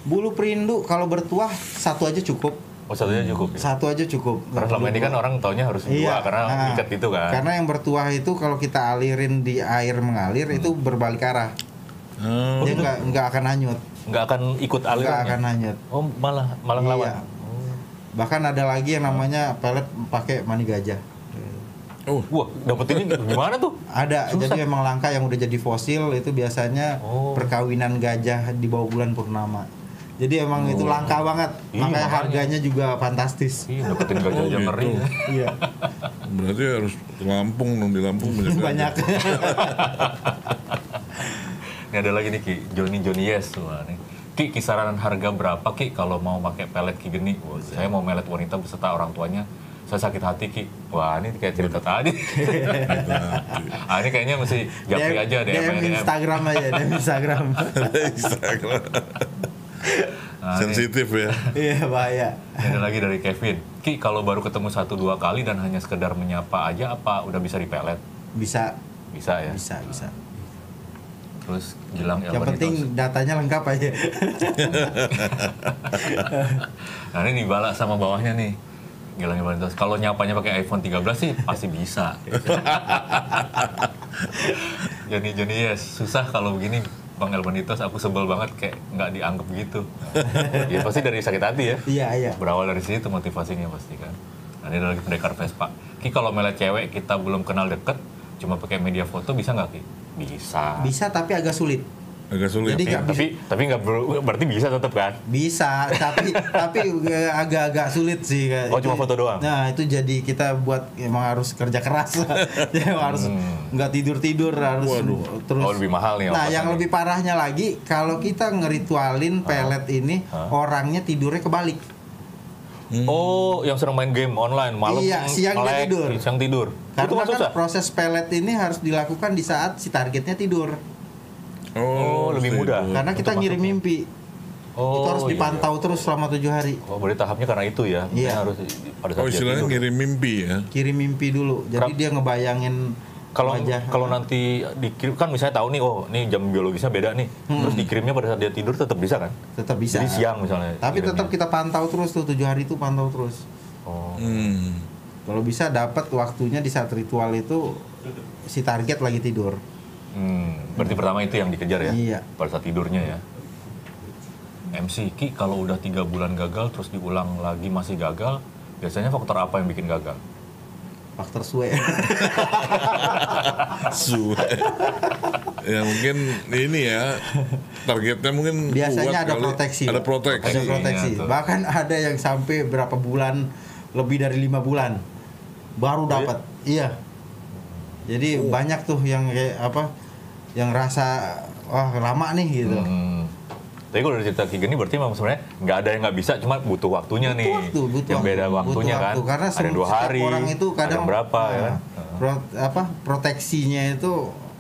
[SPEAKER 2] Bulu perindu kalau bertuah satu aja cukup.
[SPEAKER 5] Oh satunya cukup. Ya?
[SPEAKER 2] Satu aja cukup.
[SPEAKER 5] Karena selama ini kan orang taunya harus dua karena
[SPEAKER 2] nah,
[SPEAKER 5] ikat itu kan.
[SPEAKER 2] Karena yang bertuah itu kalau kita alirin di air mengalir itu berbalik arah.
[SPEAKER 6] Hmm.
[SPEAKER 2] Dia nggak nggak akan hanyut,
[SPEAKER 5] nggak akan ikut
[SPEAKER 2] nggak
[SPEAKER 5] aliran.
[SPEAKER 2] akan hanyut.
[SPEAKER 5] Oh malah malah ngelawan.
[SPEAKER 2] Iya. Bahkan ada lagi yang namanya pelet pakai mani gajah.
[SPEAKER 6] Oh,
[SPEAKER 5] Wah dapetinnya gimana tuh?
[SPEAKER 2] Ada,
[SPEAKER 5] Susah.
[SPEAKER 2] jadi memang langka yang udah jadi fosil itu biasanya
[SPEAKER 5] Oh.
[SPEAKER 2] perkawinan gajah di bawah bulan purnama. Jadi emang itu langka banget,
[SPEAKER 5] Iya,
[SPEAKER 2] makanya
[SPEAKER 5] makanya.
[SPEAKER 2] harganya juga fantastis.
[SPEAKER 5] Iya dapetin gajah aja
[SPEAKER 6] gitu.
[SPEAKER 5] ngeri.
[SPEAKER 2] Iya,
[SPEAKER 6] Berarti harus ke Lampung dong di Lampung
[SPEAKER 5] Iya.
[SPEAKER 6] banyak.
[SPEAKER 2] banyak.
[SPEAKER 5] Ini ada lagi nih Ki, Joni Joni Yes Wah, nih. Ki kisaran harga berapa Ki kalau mau pakai pelet Ki geni? Wah, saya mau melet wanita beserta orang tuanya. Saya sakit hati Ki. Wah ini kayak cerita tadi. ah ini kayaknya mesti japri aja deh.
[SPEAKER 2] DM Instagram aja, DM Instagram.
[SPEAKER 6] Instagram. Sensitif ya.
[SPEAKER 2] Iya bahaya.
[SPEAKER 5] Ini ada lagi dari Kevin. Ki, kalau baru ketemu satu dua kali dan hanya sekedar menyapa aja apa udah bisa dipelet?
[SPEAKER 2] Bisa,
[SPEAKER 5] Bisa ya.
[SPEAKER 2] bisa, bisa.
[SPEAKER 5] Terus Gilang
[SPEAKER 2] Yang
[SPEAKER 5] Elbanitos.
[SPEAKER 2] penting datanya lengkap aja.
[SPEAKER 5] Nah ini dibalas sama bawahnya nih. Gilang Elbanitos. Kalau nyapanya pakai iPhone 13 sih pasti bisa. Joni Joni yes, susah kalau begini Bang Elbanitos aku sebel banget kayak nggak dianggap gitu. ya pasti dari sakit hati ya.
[SPEAKER 2] Iya, iya.
[SPEAKER 5] Berawal dari situ motivasinya pasti kan. Nah, ini ada lagi pendekar Vespa. Ki kalau melet cewek kita belum kenal deket, cuma pakai media foto bisa nggak Ki? Bisa.
[SPEAKER 2] Bisa tapi agak sulit.
[SPEAKER 6] Agak sulit.
[SPEAKER 2] Jadi
[SPEAKER 5] Ya,
[SPEAKER 2] nggak
[SPEAKER 5] tapi tapi nggak ber- berarti bisa tetap kan?
[SPEAKER 2] Bisa, tapi tapi eh, agak-agag sulit sih. Kak.
[SPEAKER 5] Oh, cuma
[SPEAKER 2] Itu-
[SPEAKER 5] foto doang?
[SPEAKER 2] Nah, itu jadi kita buat emang harus kerja keras. Jadi emang harus nggak tidur-tidur harus terus
[SPEAKER 5] Hmm. Oh, lebih mahal nih
[SPEAKER 2] Nah,
[SPEAKER 5] ongkosannya.
[SPEAKER 2] yang lebih parahnya lagi kalau kita ngeritualin pelet ini orangnya tidurnya kebalik.
[SPEAKER 5] Oh, yang sering main game online malam
[SPEAKER 2] Hmm. Iya, siang dia
[SPEAKER 5] melek,
[SPEAKER 2] tidur.
[SPEAKER 5] Siang tidur. itu
[SPEAKER 2] Karena
[SPEAKER 5] nggak
[SPEAKER 2] kan
[SPEAKER 5] susah.
[SPEAKER 2] proses pelet ini harus dilakukan di saat si targetnya tidur.
[SPEAKER 5] Oh, lebih
[SPEAKER 6] stay
[SPEAKER 5] mudah.
[SPEAKER 6] dulu.
[SPEAKER 2] Karena
[SPEAKER 5] Untuk
[SPEAKER 2] kita ngirim
[SPEAKER 5] masuknya.
[SPEAKER 2] mimpi.
[SPEAKER 5] Oh,
[SPEAKER 2] itu harus
[SPEAKER 5] iya,
[SPEAKER 2] dipantau terus selama tujuh hari.
[SPEAKER 5] iya. Oh, berarti tahapnya karena itu ya. Mungkin
[SPEAKER 2] Iya.
[SPEAKER 5] Harus pada saat
[SPEAKER 6] Oh,
[SPEAKER 5] dia
[SPEAKER 6] istilahnya
[SPEAKER 5] tidur.
[SPEAKER 6] ngirim mimpi ya.
[SPEAKER 2] Kirim mimpi dulu. Jadi
[SPEAKER 5] Kerap-
[SPEAKER 2] dia ngebayangin
[SPEAKER 5] Kalau
[SPEAKER 2] wajah.
[SPEAKER 5] kalau nanti dikirim kan misalnya tahu nih, oh, ini jam biologisnya beda nih. Terus dikirimnya pada saat dia tidur tetap bisa kan?
[SPEAKER 2] tetap Hmm. bisa.
[SPEAKER 5] Jadi siang misalnya.
[SPEAKER 2] Tapi
[SPEAKER 5] kirimnya.
[SPEAKER 2] tetap kita pantau terus tuh tujuh hari itu pantau terus.
[SPEAKER 5] Oh.
[SPEAKER 6] Hmm.
[SPEAKER 2] Kalau bisa dapat waktunya di saat ritual itu si target lagi tidur.
[SPEAKER 5] Hmm, berarti pertama itu yang dikejar ya?
[SPEAKER 2] Iya.
[SPEAKER 5] Pada saat tidurnya ya? MC, Ki kalau udah tiga bulan gagal terus diulang lagi masih gagal, biasanya faktor apa yang bikin gagal?
[SPEAKER 2] Faktor suwe.
[SPEAKER 6] Suwe. ya mungkin ini ya targetnya mungkin kuat
[SPEAKER 2] Biasanya ada
[SPEAKER 6] kali.
[SPEAKER 2] proteksi.
[SPEAKER 6] Ada
[SPEAKER 2] Pak.
[SPEAKER 6] proteksi.
[SPEAKER 2] Ada proteksi.
[SPEAKER 5] Iya, tuh.
[SPEAKER 2] Bahkan ada yang sampai berapa bulan lebih dari lima bulan
[SPEAKER 6] Oh,
[SPEAKER 2] baru dapat. Iya. Jadi banyak tuh yang kayak apa yang rasa wah lama nih gitu.
[SPEAKER 5] Hmm. Tapi kalau dari cerita Ki gini berarti memang sebenarnya nggak ada yang nggak bisa, cuma butuh waktunya nih.
[SPEAKER 2] waktu, butuh
[SPEAKER 5] yang beda
[SPEAKER 2] waktu,
[SPEAKER 5] waktunya
[SPEAKER 2] butuh
[SPEAKER 5] kan.
[SPEAKER 2] waktu. Karena
[SPEAKER 5] ada
[SPEAKER 2] setiap
[SPEAKER 5] dua hari.
[SPEAKER 2] orang itu kadang
[SPEAKER 5] ada berapa ya
[SPEAKER 2] nah,
[SPEAKER 5] kan?
[SPEAKER 2] pro- apa proteksinya itu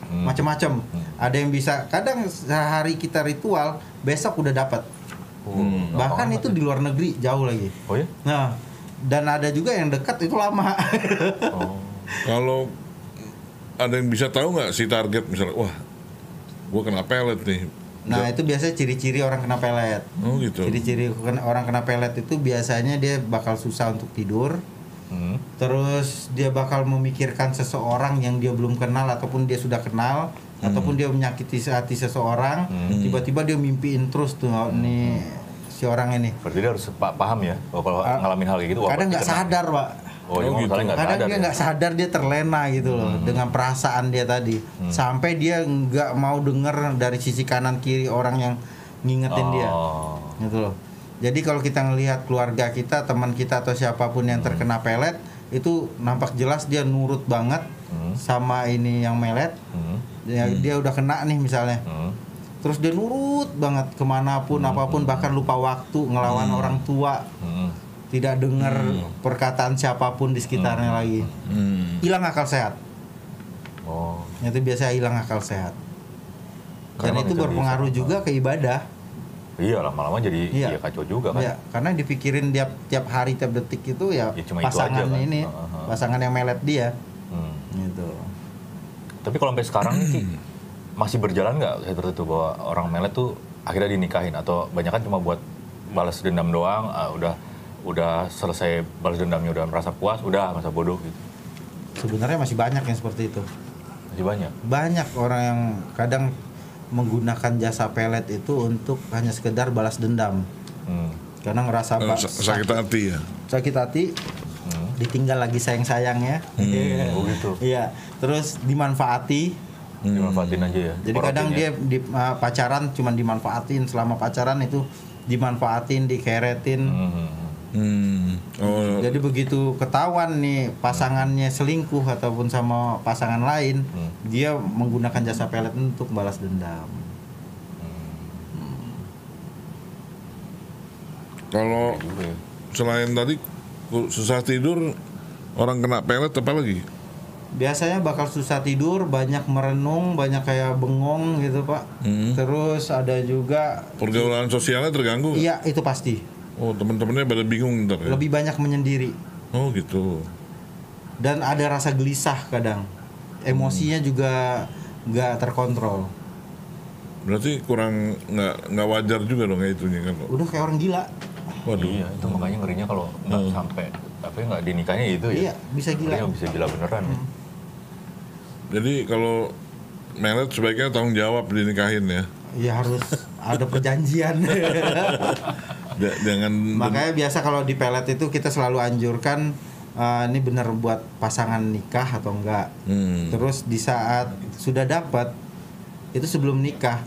[SPEAKER 5] Hmm.
[SPEAKER 2] macam-macam. Ada yang bisa kadang sehari kita ritual besok udah dapat.
[SPEAKER 5] Hmm.
[SPEAKER 2] Bahkan itu di luar negeri jauh lagi.
[SPEAKER 5] Oh ya?
[SPEAKER 2] Nah, dan ada juga yang dekat itu lama.
[SPEAKER 5] Oh.
[SPEAKER 6] Kalau ada yang bisa tahu nggak si target misalnya, wah, gua kena pelet nih.
[SPEAKER 2] nah, itu biasanya ciri-ciri orang kena pelet.
[SPEAKER 6] Oh gitu.
[SPEAKER 2] Ciri-ciri kena- orang kena pelet itu biasanya dia bakal susah untuk tidur.
[SPEAKER 5] Hmm.
[SPEAKER 2] terus dia bakal memikirkan seseorang yang dia belum kenal ataupun dia sudah kenal ataupun dia menyakiti hati seseorang tiba-tiba dia mimpiin terus tuh oh, nih si orang ini
[SPEAKER 5] Berarti dia harus pa- paham ya, bahwa kalau
[SPEAKER 2] Ah.
[SPEAKER 5] ngalamin hal kayak gitu. wah,
[SPEAKER 2] kadang
[SPEAKER 5] berarti
[SPEAKER 2] nggak
[SPEAKER 5] kena.
[SPEAKER 2] sadar pak
[SPEAKER 5] Oh, iya,
[SPEAKER 6] Oh, gitu.
[SPEAKER 5] masalahnya nggak
[SPEAKER 2] kadang
[SPEAKER 5] sadar.
[SPEAKER 2] dia
[SPEAKER 5] ya. Hmm.
[SPEAKER 2] nggak sadar dia terlena gitu loh dengan perasaan dia tadi sampai dia nggak mau denger dari sisi kanan kiri orang yang ngingetin dia
[SPEAKER 5] Oh.
[SPEAKER 2] gitu loh. Jadi kalau kita ngelihat keluarga kita, teman kita atau siapapun yang
[SPEAKER 5] Hmm.
[SPEAKER 2] terkena pelet itu nampak jelas dia nurut banget sama ini yang melet.
[SPEAKER 5] Hmm.
[SPEAKER 2] Dia, dia udah kena nih misalnya.
[SPEAKER 5] Hmm.
[SPEAKER 2] Terus dia nurut banget kemanapun apapun bahkan lupa waktu ngelawan orang tua,
[SPEAKER 5] Hmm.
[SPEAKER 2] tidak dengar perkataan siapapun di sekitarnya lagi.
[SPEAKER 6] Hmm.
[SPEAKER 2] Hilang akal sehat.
[SPEAKER 5] Oh.
[SPEAKER 2] Itu biasa hilang akal sehat. Dan
[SPEAKER 5] Karena
[SPEAKER 2] itu
[SPEAKER 5] bisa-
[SPEAKER 2] berpengaruh
[SPEAKER 5] bisa.
[SPEAKER 2] juga ke ibadah.
[SPEAKER 5] Iya lama-lama jadi
[SPEAKER 2] Iya.
[SPEAKER 5] ya kacau juga kan.
[SPEAKER 2] Iya, karena yang dipikirin tiap tiap hari tiap detik itu ya,
[SPEAKER 5] Ya, cuma itu
[SPEAKER 2] pasangan
[SPEAKER 5] aja, kan?
[SPEAKER 2] ini,
[SPEAKER 5] Aha.
[SPEAKER 2] pasangan yang melet dia
[SPEAKER 5] Hmm.
[SPEAKER 2] gitu. Hmm.
[SPEAKER 5] Tapi kalau sampai sekarang nih Ki, masih berjalan nggak saya itu bahwa orang melet tuh akhirnya dinikahin atau banyak kan cuma buat balas dendam doang ah, udah udah selesai balas dendamnya udah merasa puas udah merasa bodoh gitu
[SPEAKER 2] Sebenarnya masih banyak yang seperti itu.
[SPEAKER 5] masih banyak
[SPEAKER 2] Banyak orang yang kadang menggunakan jasa pelet itu untuk hanya sekedar balas dendam.
[SPEAKER 5] Hmm.
[SPEAKER 2] Karena ngerasa
[SPEAKER 6] Eh,
[SPEAKER 2] ba-
[SPEAKER 6] sa- sakit hati ya
[SPEAKER 2] sakit hati,
[SPEAKER 5] Hmm.
[SPEAKER 2] ditinggal lagi sayang-sayangnya. Iya.
[SPEAKER 5] oh gitu
[SPEAKER 2] Iya, terus dimanfaati.
[SPEAKER 5] dimanfaatin aja ya
[SPEAKER 2] Hmm. Jadi kadang dia di, uh, pacaran cuman dimanfaatin selama pacaran itu dimanfaatin, dikeretin.
[SPEAKER 6] hmm. oh
[SPEAKER 2] Jadi begitu ketahuan nih pasangannya selingkuh ataupun sama pasangan lain, dia menggunakan jasa pelet untuk balas dendam.
[SPEAKER 6] kalau selain tadi ku- susah tidur orang kena pelet apa lagi
[SPEAKER 2] Biasanya bakal susah tidur, banyak merenung, banyak kayak bengong gitu, Pak. Terus ada juga
[SPEAKER 6] pergaulan sosialnya terganggu
[SPEAKER 2] iya itu pasti.
[SPEAKER 6] oh teman-temannya pada bingung ntar ya
[SPEAKER 2] Lebih banyak menyendiri.
[SPEAKER 6] oh gitu
[SPEAKER 2] dan ada rasa gelisah kadang emosinya juga nggak terkontrol
[SPEAKER 6] berarti kurang nggak nggak wajar juga dong ya itunya kan
[SPEAKER 2] udah kayak orang gila
[SPEAKER 6] waduh
[SPEAKER 5] iya itu makanya ngerinya kalau nggak sampai tapi nggak dinikahnya itu ya
[SPEAKER 2] Hmm. iya bisa
[SPEAKER 5] Ngerinya
[SPEAKER 2] gila Hmm.
[SPEAKER 5] bisa gila beneran ya.
[SPEAKER 6] jadi kalau melet sebaiknya tanggung jawab dinikahin ya
[SPEAKER 2] ya harus ada perjanjian
[SPEAKER 6] Ja- jangan
[SPEAKER 2] makanya biasa kalau di pelet itu kita selalu anjurkan eh, ini bener buat pasangan nikah atau enggak
[SPEAKER 6] Hmm.
[SPEAKER 2] terus di saat sudah dapat itu sebelum nikah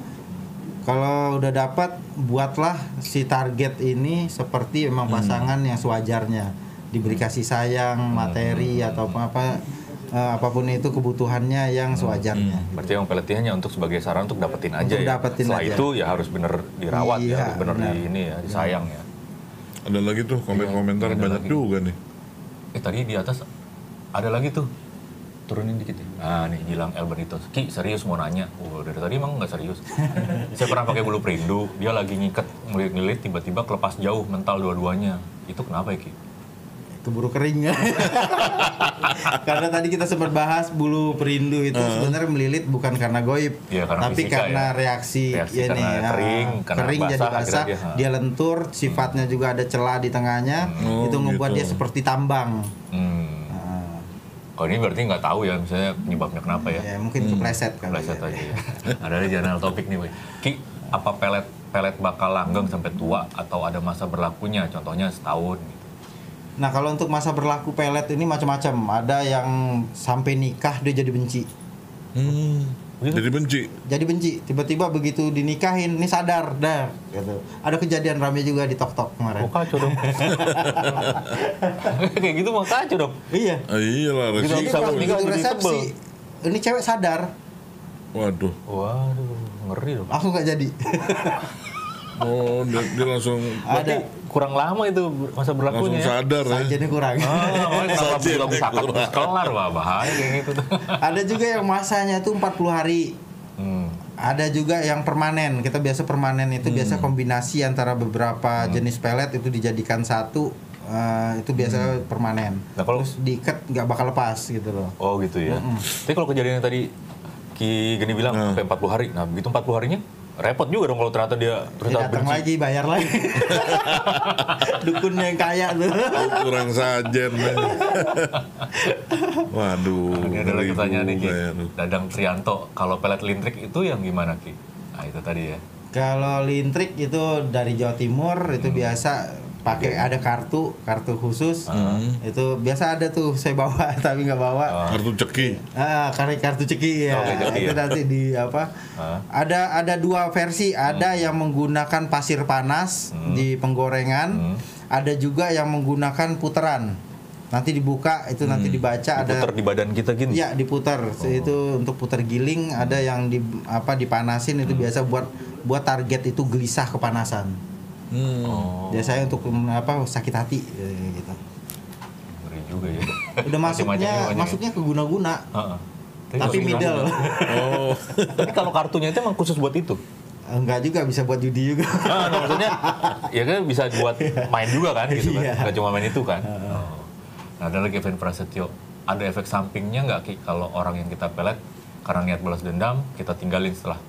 [SPEAKER 2] kalau udah dapat buatlah si target ini seperti memang pasangan yang sewajarnya diberi kasih sayang materi atau apa apa eh, apapun itu kebutuhannya yang sewajarnya
[SPEAKER 5] Berarti yang peletnya hanya untuk sebagai saran untuk dapetin aja
[SPEAKER 2] Untuk
[SPEAKER 5] ya.
[SPEAKER 2] dapetin
[SPEAKER 5] Setelah
[SPEAKER 2] aja.
[SPEAKER 5] itu ya harus bener dirawat
[SPEAKER 2] Iya,
[SPEAKER 5] ya, harus bener, di
[SPEAKER 2] benar.
[SPEAKER 5] ini ya, disayang ya.
[SPEAKER 6] ada lagi tuh komen-komentar
[SPEAKER 5] Iya, ada
[SPEAKER 6] banyak
[SPEAKER 5] lagi.
[SPEAKER 6] juga nih
[SPEAKER 5] Eh tadi di atas ada lagi tuh. Turunin dikit ya. Nah nih Gilang Elbenito. Ki serius mau nanya. Oh dari tadi emang nggak serius. Saya pernah pakai bulu perindu. Dia lagi ngikat ngelilit-ngelilit tiba-tiba kelepas jauh mental dua-duanya. Itu kenapa ya Ki?
[SPEAKER 2] keburu kering karena tadi kita sempat bahas bulu perindu itu sebenarnya melilit bukan karena goib
[SPEAKER 5] Iya, karena
[SPEAKER 2] tapi
[SPEAKER 5] fisika
[SPEAKER 2] karena
[SPEAKER 5] ya.
[SPEAKER 2] reaksi,
[SPEAKER 5] Reaksi
[SPEAKER 2] ini
[SPEAKER 5] karena
[SPEAKER 2] ah,
[SPEAKER 5] kering, karena
[SPEAKER 2] kering jadi
[SPEAKER 5] basah, akhirnya
[SPEAKER 2] basah
[SPEAKER 5] dia,
[SPEAKER 2] dia,
[SPEAKER 5] ah.
[SPEAKER 2] lentur sifatnya juga ada celah di tengahnya
[SPEAKER 6] Oh,
[SPEAKER 2] itu membuat
[SPEAKER 6] gitu.
[SPEAKER 2] dia seperti tambang
[SPEAKER 5] Hmm.
[SPEAKER 2] Ah,
[SPEAKER 5] Kalau ini berarti nggak tahu ya misalnya penyebabnya kenapa ya.
[SPEAKER 2] ya mungkin kepleset kali
[SPEAKER 5] Pleset
[SPEAKER 2] ya.
[SPEAKER 5] aja ya. ada di jurnal topik nih, Boy. Ki, apa pelet pelet bakal langgeng sampai tua atau ada masa berlakunya? Contohnya setahun gitu.
[SPEAKER 2] Nah kalau untuk masa berlaku pelet ini macam-macam ada yang sampai nikah dia jadi benci
[SPEAKER 5] Hmm.
[SPEAKER 6] jadi benci
[SPEAKER 2] jadi benci tiba-tiba begitu dinikahin ini sadar dah gitu ada kejadian rame juga di tok tok kemarin
[SPEAKER 5] kacau dong. Kayak gitu mau kacau dong.
[SPEAKER 2] iya
[SPEAKER 6] ah, iyalah
[SPEAKER 5] Gitu,
[SPEAKER 6] resiko
[SPEAKER 2] Jadi
[SPEAKER 5] bisa
[SPEAKER 2] pas
[SPEAKER 5] berubah.
[SPEAKER 2] begitu
[SPEAKER 5] Jadi
[SPEAKER 2] resepsi, ini cewek sadar,
[SPEAKER 6] waduh
[SPEAKER 5] Waduh, ngeri dong.
[SPEAKER 2] aku nggak jadi.
[SPEAKER 6] oh dia, dia langsung
[SPEAKER 5] Berarti
[SPEAKER 2] Ada
[SPEAKER 5] kurang lama itu ber- masa
[SPEAKER 6] langsung
[SPEAKER 5] berlakunya. ya?
[SPEAKER 6] sadar ya
[SPEAKER 2] sajennya kurang.
[SPEAKER 5] Ah, makanya kenapa
[SPEAKER 6] Saja
[SPEAKER 5] bilang
[SPEAKER 6] yang
[SPEAKER 5] sakat
[SPEAKER 6] kurang.
[SPEAKER 5] terus kelar wah bahaya kayak gitu tuh.
[SPEAKER 2] Ada juga yang masanya itu 40 hari.
[SPEAKER 5] Hmm.
[SPEAKER 2] Ada juga yang permanen. Kita biasa permanen itu biasa kombinasi antara beberapa
[SPEAKER 5] Hmm.
[SPEAKER 2] jenis pelet itu dijadikan satu. eh, itu biasa permanen.
[SPEAKER 5] Nah, kalau-
[SPEAKER 2] Terus diikat nggak bakal lepas gitu loh.
[SPEAKER 5] Oh gitu ya. Tapi kalau kejadian yang tadi Ki Geni bilang sampai 40 hari. Nah, begitu 40 harinya repot juga dong kalau ternyata dia
[SPEAKER 2] Dia
[SPEAKER 5] ternyata
[SPEAKER 2] datang
[SPEAKER 5] benci.
[SPEAKER 2] lagi bayar lagi. Dukun yang kaya tuh.
[SPEAKER 6] kurang sajen men. waduh
[SPEAKER 5] Ini ada lagi
[SPEAKER 6] ngeri
[SPEAKER 5] pertanyaan nih, Ki.
[SPEAKER 6] juga ya, aduh.
[SPEAKER 5] Dadang Trianto, kalau pelet lintrik itu yang gimana, Ki? Nah, itu tadi ya.
[SPEAKER 2] Kalau lintrik itu dari Jawa Timur itu
[SPEAKER 5] Hmm.
[SPEAKER 2] biasa pakai ada kartu kartu khusus
[SPEAKER 5] Hmm.
[SPEAKER 2] itu biasa ada tuh saya bawa tapi nggak bawa
[SPEAKER 6] kartu ceki
[SPEAKER 2] ah karena kartu ceki
[SPEAKER 5] Oh.
[SPEAKER 2] ya
[SPEAKER 5] Oke, ceki
[SPEAKER 2] itu
[SPEAKER 5] ya. Ah.
[SPEAKER 2] nanti di apa ada ada dua versi ada
[SPEAKER 5] Hmm.
[SPEAKER 2] yang menggunakan pasir panas di
[SPEAKER 5] Hmm.
[SPEAKER 2] penggorengan ada juga yang menggunakan puteran nanti dibuka itu nanti dibaca
[SPEAKER 5] Diputer
[SPEAKER 2] ada
[SPEAKER 5] Hmm. di badan kita gini.
[SPEAKER 2] Iya diputar
[SPEAKER 5] Oh.
[SPEAKER 2] itu untuk putar giling ada yang di apa
[SPEAKER 5] Hmm.
[SPEAKER 2] dipanasin itu biasa buat buat target itu gelisah kepanasan
[SPEAKER 5] Hmm.
[SPEAKER 2] biasanya untuk mm, apa sakit hati eh, gitu
[SPEAKER 5] Ngeri juga ya.
[SPEAKER 2] udah masuknya
[SPEAKER 5] Macam-macamnya banyak ya?
[SPEAKER 2] masuknya ke guna guna
[SPEAKER 5] Heeh.
[SPEAKER 2] tapi
[SPEAKER 5] masuk
[SPEAKER 2] middle
[SPEAKER 5] bilang-
[SPEAKER 6] oh
[SPEAKER 5] Tapi kalau kartunya itu emang khusus buat itu.
[SPEAKER 2] enggak juga bisa buat judi juga
[SPEAKER 5] Ah, nah, maksudnya ya kan bisa buat main juga kan gitu kan.
[SPEAKER 2] Iya.
[SPEAKER 5] Gak cuma main itu kan. Oh. Nah, ada lagi Evan Prasetyo. Ada efek sampingnya nggak Ki kalau orang yang kita pelet karena niat balas dendam kita tinggalin setelah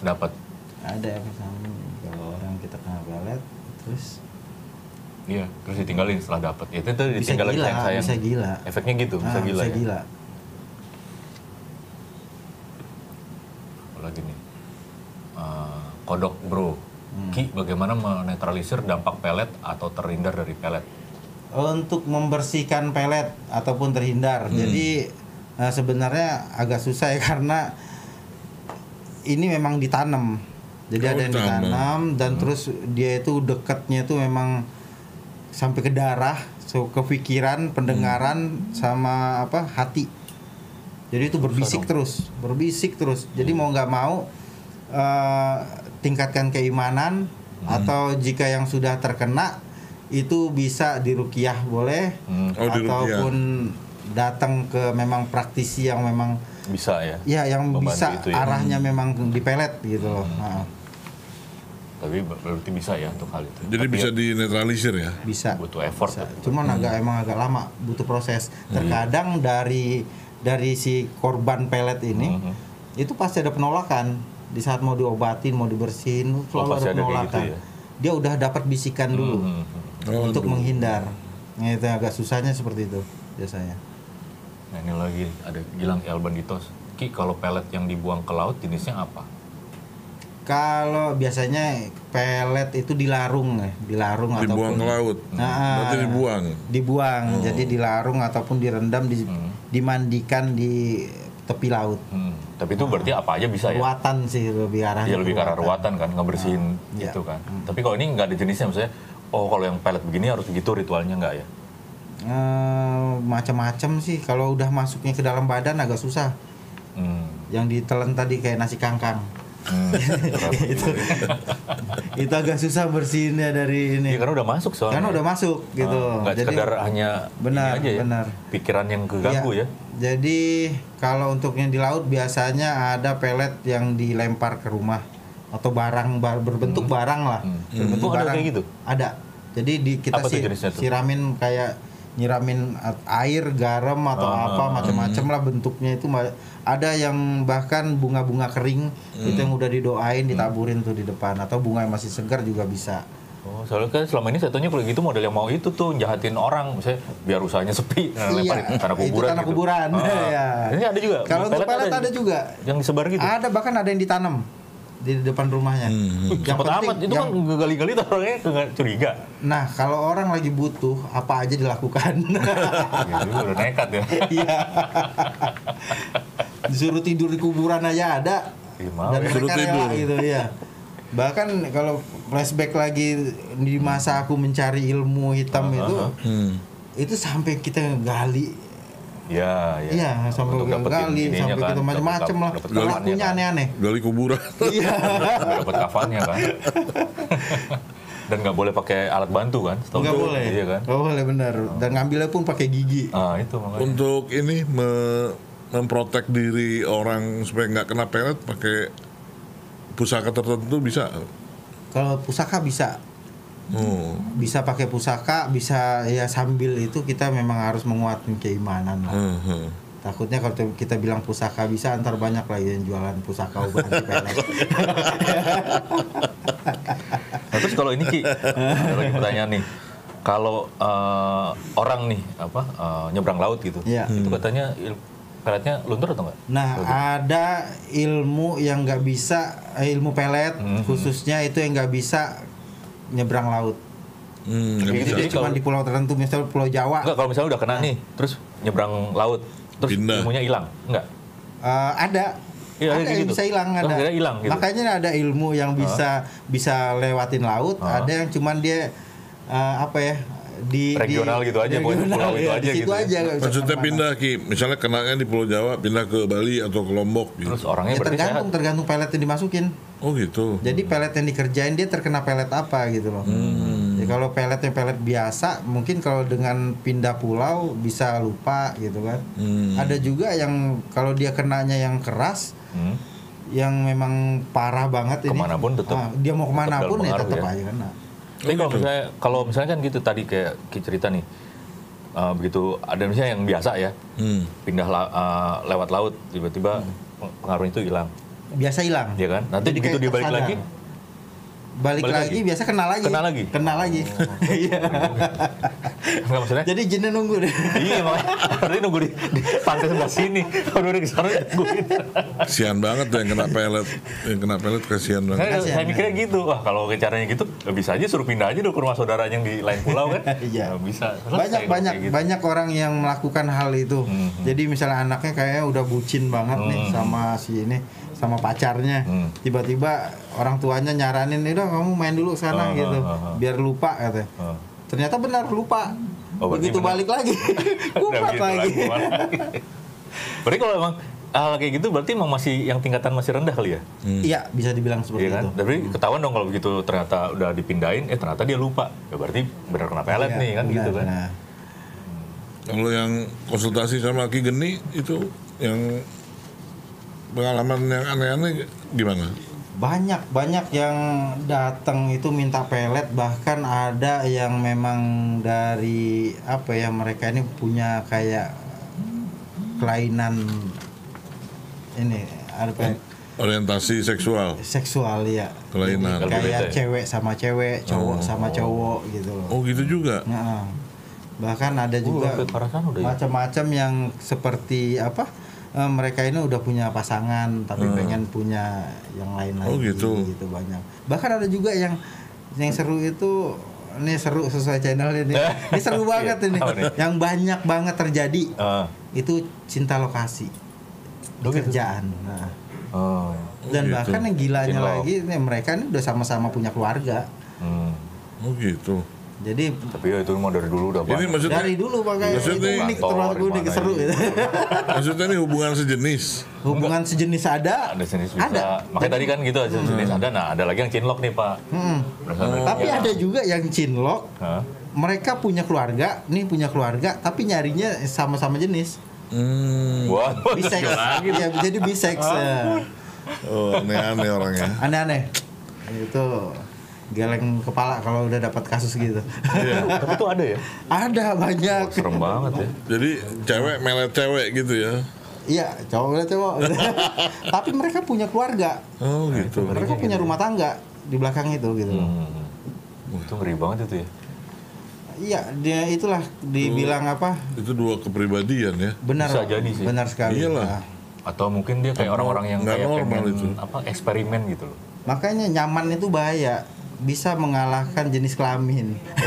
[SPEAKER 5] dapat
[SPEAKER 2] ada efek samping kalau
[SPEAKER 5] Oh.
[SPEAKER 2] orang kita kena pelet terus
[SPEAKER 5] Iya, terus ditinggalin setelah dapat. Ya, Itu tuh
[SPEAKER 2] bisa
[SPEAKER 5] ditinggalin
[SPEAKER 2] gila
[SPEAKER 5] sayang-sayang.
[SPEAKER 2] bisa gila
[SPEAKER 5] Efeknya gitu, bisa
[SPEAKER 2] Ah,
[SPEAKER 5] gila.
[SPEAKER 2] bisa
[SPEAKER 5] ya?
[SPEAKER 2] gila
[SPEAKER 5] Apalagi nih. Eh, kodok bro. Ki, bagaimana menetralisir dampak pelet atau terhindar dari pelet?
[SPEAKER 2] untuk membersihkan pelet ataupun
[SPEAKER 5] Hmm.
[SPEAKER 2] terhindar. Jadi eh, sebenarnya agak susah ya karena ini memang ditanam. Jadi
[SPEAKER 6] Oh,
[SPEAKER 2] ada yang
[SPEAKER 6] ditanam. Hmm.
[SPEAKER 2] ditanam dan terus dia itu dekatnya itu memang sampai ke darah, so ke pikiran, pendengaran
[SPEAKER 6] Hmm.
[SPEAKER 2] sama apa hati. Jadi itu berbisik terus, berbisik terus. Jadi
[SPEAKER 6] Hmm.
[SPEAKER 2] mau nggak mau eh, tingkatkan keimanan
[SPEAKER 6] Hmm.
[SPEAKER 2] atau jika yang sudah terkena itu bisa dirukiah boleh
[SPEAKER 5] Hmm.
[SPEAKER 6] Oh, diruqyah.
[SPEAKER 2] ataupun datang ke memang praktisi yang memang
[SPEAKER 5] Bisa ya?
[SPEAKER 2] ya yang
[SPEAKER 5] Membantu
[SPEAKER 2] bisa
[SPEAKER 5] itu ya.
[SPEAKER 2] arahnya memang dipelet gitu loh. Nah,
[SPEAKER 5] Tapi ber- berarti bisa ya untuk hal itu.
[SPEAKER 6] Jadi
[SPEAKER 5] Tapi
[SPEAKER 6] bisa
[SPEAKER 5] ya
[SPEAKER 6] dinetralisir ya.
[SPEAKER 2] bisa.
[SPEAKER 5] butuh effort. Hmm.
[SPEAKER 2] Bisa. Cuman agak emang agak lama butuh proses. Terkadang dari dari si korban pelet ini
[SPEAKER 5] Hmm.
[SPEAKER 2] itu pasti ada penolakan di saat mau diobatin, mau dibersihin selalu
[SPEAKER 5] pasti ada kayak
[SPEAKER 2] ada
[SPEAKER 5] gitu
[SPEAKER 2] penolakan.
[SPEAKER 5] ya.
[SPEAKER 2] Dia udah dapat bisikan dulu
[SPEAKER 5] Hmm, hmm.
[SPEAKER 6] Oh,
[SPEAKER 2] untuk menghindar. Nah, itu agak susahnya seperti itu biasanya.
[SPEAKER 5] Nah ini lagi ada Gilang El Banditos. Ki, kalau pelet yang dibuang ke laut jenisnya apa?
[SPEAKER 2] Kalau biasanya pelet itu dilarung ya, dilarung
[SPEAKER 6] Dibuang
[SPEAKER 2] ataupun
[SPEAKER 6] ke laut.
[SPEAKER 5] Nah.
[SPEAKER 2] Ah.
[SPEAKER 6] Berarti dibuang.
[SPEAKER 5] Oh.
[SPEAKER 2] dibuang, jadi dilarung ataupun direndam, di- dimandikan di tepi laut.
[SPEAKER 5] Hmm, Tapi itu berarti apa aja bisa ya?
[SPEAKER 2] Ruatan sih lebih
[SPEAKER 5] Ya
[SPEAKER 2] arahnya.
[SPEAKER 5] lebih
[SPEAKER 2] ke
[SPEAKER 5] karena ruatan kan, nggak bersihin
[SPEAKER 2] Iya.
[SPEAKER 5] gitu kan. Tapi kalau ini nggak ada jenisnya, maksudnya, oh kalau yang pelet begini harus begitu ritualnya nggak ya?
[SPEAKER 2] Eh, macam-macam sih kalau udah masuknya ke dalam badan agak susah
[SPEAKER 5] Hmm.
[SPEAKER 2] yang ditelan tadi kayak nasi kangkang itu itu agak susah bersihinnya dari ini
[SPEAKER 5] Iya, karena udah masuk soalnya.
[SPEAKER 2] karena udah masuk gitu
[SPEAKER 5] Ah, nggak sekedar hanya ini
[SPEAKER 2] benar,
[SPEAKER 5] aja ya,
[SPEAKER 2] benar.
[SPEAKER 5] pikiran yang keganggu
[SPEAKER 2] Iya.
[SPEAKER 5] ya.
[SPEAKER 2] Jadi kalau untuk yang di laut biasanya ada pelet yang dilempar ke rumah atau barang bar- berbentuk barang lah. Berbentuk
[SPEAKER 5] Hmm. Oh, ada kayak gitu?
[SPEAKER 2] Ada. Jadi di kita
[SPEAKER 5] Apa tuh
[SPEAKER 2] sih
[SPEAKER 5] jenisnya tuh?
[SPEAKER 2] siramin kayak nyiramin a- air, garam atau
[SPEAKER 5] Ah,
[SPEAKER 2] apa
[SPEAKER 5] hmm.
[SPEAKER 2] macam-macam lah bentuknya itu ma- ada yang bahkan bunga-bunga kering itu
[SPEAKER 5] Hmm.
[SPEAKER 2] yang udah didoain ditaburin tuh di depan atau bunga yang masih segar juga bisa.
[SPEAKER 5] Oh, soalnya kan selama ini saya tanya kalau gitu model yang mau itu tuh jahatin orang, misalnya biar usahanya sepi, nah, lemparin ke tanah
[SPEAKER 2] Iya. itu
[SPEAKER 5] kuburan.
[SPEAKER 2] tanah
[SPEAKER 5] gitu.
[SPEAKER 2] kuburan.
[SPEAKER 5] Ah.
[SPEAKER 2] ya.
[SPEAKER 5] Ini ada juga.
[SPEAKER 2] Kalau untuk pelet ada juga.
[SPEAKER 5] Yang disebar gitu.
[SPEAKER 2] Ada bahkan ada yang ditanam di depan rumahnya.
[SPEAKER 5] Wih,
[SPEAKER 2] Yang
[SPEAKER 5] cepet
[SPEAKER 2] penting,
[SPEAKER 5] amat itu
[SPEAKER 2] yang-
[SPEAKER 5] kan gali-gali orangnya nggak curiga.
[SPEAKER 2] Nah, kalau orang lagi butuh, apa aja dilakukan.
[SPEAKER 5] Ya, lu udah nekat ya.
[SPEAKER 2] Iya. Disuruh tidur di kuburan aja ada.
[SPEAKER 5] Ih, mau ya.
[SPEAKER 2] mereka
[SPEAKER 6] Suruh
[SPEAKER 2] rela
[SPEAKER 6] tidur.
[SPEAKER 2] gitu ya. Bahkan kalau flashback lagi di masa aku mencari ilmu hitam itu,
[SPEAKER 6] Hmm.
[SPEAKER 2] itu sampai kita gali
[SPEAKER 5] Iya,
[SPEAKER 2] Iya, sampai
[SPEAKER 5] Untuk
[SPEAKER 2] ugal
[SPEAKER 5] dapetin
[SPEAKER 2] gali,
[SPEAKER 5] ininya
[SPEAKER 2] sampai
[SPEAKER 5] kan,
[SPEAKER 2] kita
[SPEAKER 5] dapet-
[SPEAKER 2] macam-macam lah.
[SPEAKER 5] dapet kafannya
[SPEAKER 2] Pelakunya
[SPEAKER 5] kan.
[SPEAKER 2] aneh-aneh.
[SPEAKER 6] Gali kuburan.
[SPEAKER 2] Iya.
[SPEAKER 5] Nggak Dapet kafannya kan. Dan nggak boleh pakai alat bantu kan? setahu
[SPEAKER 2] Enggak
[SPEAKER 5] gue.
[SPEAKER 2] boleh.
[SPEAKER 5] Iya kan?
[SPEAKER 2] Nggak boleh benar. Dan ngambilnya pun pakai gigi.
[SPEAKER 5] Ah, itu makanya.
[SPEAKER 6] Untuk ini me- memprotek diri orang supaya nggak kena pelet pakai pusaka tertentu bisa.
[SPEAKER 2] Kalau pusaka bisa
[SPEAKER 6] Hmm.
[SPEAKER 2] bisa pakai pusaka, bisa ya sambil itu kita memang harus menguatkan keimanan lah.
[SPEAKER 6] Hmm, hmm.
[SPEAKER 2] Takutnya kalau kita bilang pusaka bisa antar banyak lagi yang jualan pusaka obat anti pelet.
[SPEAKER 5] Nah, terus kalau ini Ki, ada lagi pertanyaan nih. Kalau eh, orang nih apa eh, nyebrang laut gitu,
[SPEAKER 2] Iya.
[SPEAKER 5] itu katanya il- peletnya luntur atau enggak?
[SPEAKER 2] Nah, ada ilmu yang nggak bisa eh, ilmu pelet
[SPEAKER 5] Hmm.
[SPEAKER 2] khususnya itu yang nggak bisa nyebrang laut.
[SPEAKER 6] Hmm, nggak
[SPEAKER 5] Jadi-
[SPEAKER 6] bisa.
[SPEAKER 5] jadi
[SPEAKER 2] Cuman
[SPEAKER 5] kalau-
[SPEAKER 2] di pulau tertentu misalnya pulau Jawa.
[SPEAKER 5] Enggak, kalau misalnya udah kena nih, terus nyebrang laut, terus
[SPEAKER 6] Pindah.
[SPEAKER 5] ilmunya hilang, enggak?
[SPEAKER 2] Eh, ada.
[SPEAKER 5] Iya,
[SPEAKER 2] ada
[SPEAKER 5] kayak
[SPEAKER 2] yang
[SPEAKER 5] gitu.
[SPEAKER 2] bisa hilang
[SPEAKER 5] Oh,
[SPEAKER 2] ada.
[SPEAKER 5] ada hilang gitu. Oh.
[SPEAKER 2] Makanya ada ilmu yang bisa bisa lewatin laut, ada yang cuman dia eh, apa ya? di di-
[SPEAKER 5] Regional gitu aja, pokoknya pulau itu aja
[SPEAKER 2] ya, di situ
[SPEAKER 5] gitu ya.
[SPEAKER 2] aja, nggak bisa
[SPEAKER 6] Maksudnya
[SPEAKER 2] kemana-mana.
[SPEAKER 6] pindah Ki, misalnya kenanya di Pulau Jawa pindah ke Bali atau ke Lombok gitu.
[SPEAKER 5] Terus orangnya
[SPEAKER 2] Ya,
[SPEAKER 5] berarti sehat.
[SPEAKER 2] tergantung tergantung pelet yang dimasukin.
[SPEAKER 6] Oh gitu.
[SPEAKER 2] Jadi pelet yang dikerjain dia terkena pelet apa gitu loh.
[SPEAKER 5] Hmm.
[SPEAKER 2] Ya, kalau peletnya pelet biasa, mungkin kalau dengan pindah pulau bisa lupa gitu kan. Ada juga yang kalau dia kenanya yang keras,
[SPEAKER 5] Hmm.
[SPEAKER 2] yang memang parah banget ini.
[SPEAKER 5] Kemanapun tetep-
[SPEAKER 2] Ah, dia mau kemana
[SPEAKER 5] tetep
[SPEAKER 2] pun ya
[SPEAKER 5] berpengaruh
[SPEAKER 2] tetap
[SPEAKER 5] ya.
[SPEAKER 2] aja kena.
[SPEAKER 5] Tapi kalau misalnya kalau misalnya kan gitu tadi kayak Ki cerita nih eh, begitu ada misalnya yang biasa ya
[SPEAKER 6] Hmm.
[SPEAKER 5] pindah la- eh, lewat laut tiba-tiba pengaruhnya itu hilang.
[SPEAKER 2] biasa hilang.
[SPEAKER 5] ya kan nanti
[SPEAKER 2] Hmm. Jadi
[SPEAKER 5] begitu
[SPEAKER 2] kayak
[SPEAKER 5] dia balik
[SPEAKER 2] tersadar.
[SPEAKER 5] lagi Balik
[SPEAKER 2] Balik, lagi,
[SPEAKER 5] lagi?
[SPEAKER 2] biasa kenal lagi.
[SPEAKER 5] Kenal lagi? Oh,
[SPEAKER 2] Kenal lagi. Iya.
[SPEAKER 5] nggak maksudnya
[SPEAKER 2] Jadi jinnya nunggu deh.
[SPEAKER 5] iya makanya harusnya nunggu di, di pantai sebelah sini kalau udah kesana nungguin
[SPEAKER 6] Kasihan banget tuh yang kena pelet. Yang kena pelet kasihan banget.
[SPEAKER 5] saya,
[SPEAKER 2] Kasihan,
[SPEAKER 5] saya mikirnya gitu wah kalau caranya gitu ya bisa aja suruh pindah aja dulu ke rumah saudaranya yang di lain pulau kan
[SPEAKER 2] Iya.
[SPEAKER 5] Ya, bisa Selesai kalau
[SPEAKER 2] banyak banyak
[SPEAKER 5] kayak Hmm. gitu.
[SPEAKER 2] banyak orang yang melakukan hal itu jadi misalnya anaknya kayaknya udah bucin banget nih
[SPEAKER 5] Hmm.
[SPEAKER 2] sama si ini sama pacarnya tiba-tiba orang tuanya nyaranin udah kamu main dulu
[SPEAKER 5] Ah,
[SPEAKER 2] sana gitu
[SPEAKER 5] ah, ah.
[SPEAKER 2] biar lupa katanya
[SPEAKER 5] Ah.
[SPEAKER 2] ternyata benar lupa
[SPEAKER 5] Oh, berarti
[SPEAKER 2] begitu
[SPEAKER 5] benar.
[SPEAKER 2] balik lagi
[SPEAKER 5] Udah
[SPEAKER 2] kumat
[SPEAKER 5] gitu
[SPEAKER 2] lagi
[SPEAKER 5] kumat lagi. berarti kalau emang hal kayak gitu berarti emang masih yang tingkatan masih rendah kali ya
[SPEAKER 2] iya bisa dibilang seperti
[SPEAKER 5] Iya kan?
[SPEAKER 2] itu
[SPEAKER 5] Tapi ketahuan dong kalau begitu ternyata udah dipindahin, eh ternyata dia lupa. Ya berarti benar kena pelet
[SPEAKER 2] Iya,
[SPEAKER 5] nih kan gitu
[SPEAKER 2] benar,
[SPEAKER 5] kan.
[SPEAKER 2] benar.
[SPEAKER 6] Kalau yang konsultasi sama Ki Geni itu yang pengalaman yang aneh-aneh gimana?
[SPEAKER 2] banyak banyak yang datang itu minta pelet bahkan ada yang memang dari apa ya mereka ini punya kayak kelainan ini apa ya,
[SPEAKER 6] Orientasi seksual,
[SPEAKER 2] seksual ya
[SPEAKER 6] kelainan.
[SPEAKER 5] beda ya?
[SPEAKER 2] kayak cewek sama cewek
[SPEAKER 5] Oh.
[SPEAKER 2] cowok sama cowok gitu loh
[SPEAKER 6] Oh gitu juga.
[SPEAKER 2] Nah, bahkan ada juga
[SPEAKER 5] Oh, sampai ke arah sana udah ya?
[SPEAKER 2] macam-macam yang seperti apa eh, mereka ini udah punya pasangan tapi
[SPEAKER 5] Hmm.
[SPEAKER 2] pengen punya yang lain lagi
[SPEAKER 6] Oh, gitu.
[SPEAKER 2] banyak bahkan ada juga yang yang seru itu ini seru sesuai channel ini ini seru banget ini
[SPEAKER 5] Iya. Apa nih?
[SPEAKER 2] yang banyak banget terjadi
[SPEAKER 5] Ah.
[SPEAKER 2] itu cinta lokasi
[SPEAKER 5] Oh, gitu.
[SPEAKER 2] kerjaan nah
[SPEAKER 5] Oh.
[SPEAKER 2] dan
[SPEAKER 6] gitu.
[SPEAKER 2] bahkan yang gilanya
[SPEAKER 5] Cinta lo-
[SPEAKER 2] lagi ini mereka ini udah sama-sama punya keluarga
[SPEAKER 5] Hmm.
[SPEAKER 6] Oh gitu.
[SPEAKER 2] jadi
[SPEAKER 5] Tapi ya itu mau dari dulu udah banyak.
[SPEAKER 6] Ini maksudnya
[SPEAKER 2] dari dulu pakai
[SPEAKER 6] Maksudnya
[SPEAKER 2] itu
[SPEAKER 6] nih-
[SPEAKER 2] unik termasuk
[SPEAKER 5] Kantor,
[SPEAKER 2] unik
[SPEAKER 5] mana
[SPEAKER 2] seru
[SPEAKER 5] gitu.
[SPEAKER 2] gitu.
[SPEAKER 6] maksudnya ini hubungan sejenis.
[SPEAKER 2] Hubungan sejenis ada,
[SPEAKER 5] ada jenis bisa.
[SPEAKER 2] ada.
[SPEAKER 5] Makanya tadi kan gitu jenis jenis ada. Nah, ada lagi yang cinlok nih, Pak.
[SPEAKER 2] Mm-mm.
[SPEAKER 5] Berasal dari-
[SPEAKER 2] Tapi
[SPEAKER 5] ya.
[SPEAKER 2] ada juga yang cinlok.
[SPEAKER 5] Hah?
[SPEAKER 2] Mereka punya keluarga, nih punya keluarga, tapi nyarinya sama-sama jenis.
[SPEAKER 6] Hmm.
[SPEAKER 5] Wah,
[SPEAKER 2] Bisex. ya, jadi bisex. ya.
[SPEAKER 6] Oh, aneh-aneh orangnya.
[SPEAKER 2] Aneh-aneh. Itu geleng kepala kalau udah dapat kasus gitu.
[SPEAKER 5] Tapi itu ada ya.
[SPEAKER 2] ada banyak.
[SPEAKER 5] Iya. Serem banget ya.
[SPEAKER 6] Jadi cewek melet cewek gitu ya.
[SPEAKER 2] Iya, cowok lihat cowok. tapi mereka punya keluarga.
[SPEAKER 6] Oh gitu.
[SPEAKER 2] Mereka punya rumah tangga di belakang itu gitu. loh.
[SPEAKER 5] Hmm. Itu ngeri banget itu ya.
[SPEAKER 2] Iya, dia itulah dibilang apa?
[SPEAKER 6] Itu dua kepribadian ya.
[SPEAKER 2] Benar.
[SPEAKER 5] Hmm. Bisa jadi sih.
[SPEAKER 2] Benar sekali.
[SPEAKER 6] Iyalah.
[SPEAKER 2] Nah,
[SPEAKER 5] Atau mungkin dia kayak orang-orang yang
[SPEAKER 6] nggak
[SPEAKER 5] kayak
[SPEAKER 6] normal
[SPEAKER 5] pengen,
[SPEAKER 6] itu.
[SPEAKER 5] apa eksperimen gitu loh.
[SPEAKER 2] makanya nyaman itu bahaya. Bisa mengalahkan jenis kelamin.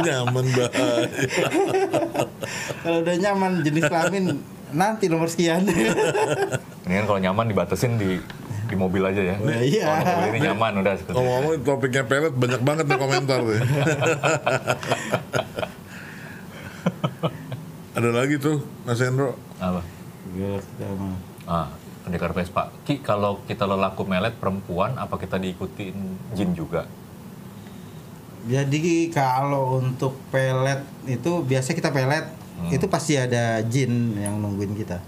[SPEAKER 6] Nyaman banget.
[SPEAKER 2] Kalau udah nyaman jenis kelamin nanti nomor sekian. Nah,
[SPEAKER 5] Mendingan kalau nyaman dibatasin di di mobil aja ya.
[SPEAKER 2] Nah, iya.
[SPEAKER 5] Kalau mobil ini nyaman udah seperti itu.
[SPEAKER 6] Ngomong-ngomong topiknya pelet banyak banget nih komentar tuh. Ada lagi tuh Mas Hendro.
[SPEAKER 5] Apa? Ah, pendekar Vespa. Ki, kalau kita lelaku melet perempuan, apa kita diikutin jin juga?
[SPEAKER 2] Jadi kalau untuk pelet itu biasanya kita pelet
[SPEAKER 5] Hmm.
[SPEAKER 2] itu pasti ada jin yang nungguin kita.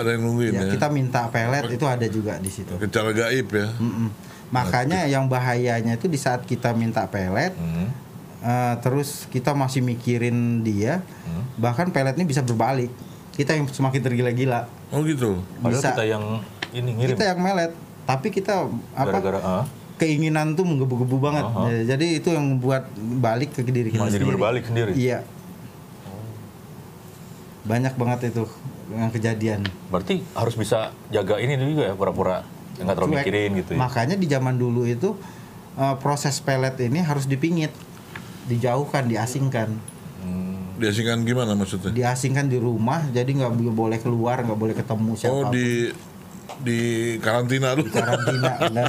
[SPEAKER 6] Ada yang nungguin ya.
[SPEAKER 2] Ya, kita minta pelet itu ada juga di situ.
[SPEAKER 6] Secara gaib ya.
[SPEAKER 2] Mm-mm. Makanya yang bahayanya itu di saat kita minta pelet
[SPEAKER 5] Hmm.
[SPEAKER 2] Eh, terus kita masih mikirin dia
[SPEAKER 5] Hmm.
[SPEAKER 2] bahkan peletnya bisa berbalik kita yang semakin tergila-gila
[SPEAKER 6] Oh gitu.
[SPEAKER 5] Padahal
[SPEAKER 2] Bisa.
[SPEAKER 5] kita yang ini ngirim.
[SPEAKER 2] kita yang melet tapi kita apa
[SPEAKER 5] Gara-gara ah,
[SPEAKER 2] keinginan tuh menggebu-gebu banget Ya, jadi itu yang buat balik ke diri kita
[SPEAKER 5] malah jadi
[SPEAKER 2] sendiri.
[SPEAKER 5] berbalik sendiri.
[SPEAKER 2] iya banyak banget itu yang kejadian
[SPEAKER 5] Berarti harus bisa jaga ini juga ya pura-pura nggak terlalu
[SPEAKER 2] Cuek.
[SPEAKER 5] mikirin gitu ya.
[SPEAKER 2] makanya di zaman dulu itu eh, proses pelet ini harus dipingit dijauhkan diasingkan
[SPEAKER 6] Diasingkan gimana maksudnya?
[SPEAKER 2] diasingkan di rumah jadi nggak boleh keluar nggak boleh ketemu siapa
[SPEAKER 6] Oh di di karantina dulu.
[SPEAKER 2] karantina benar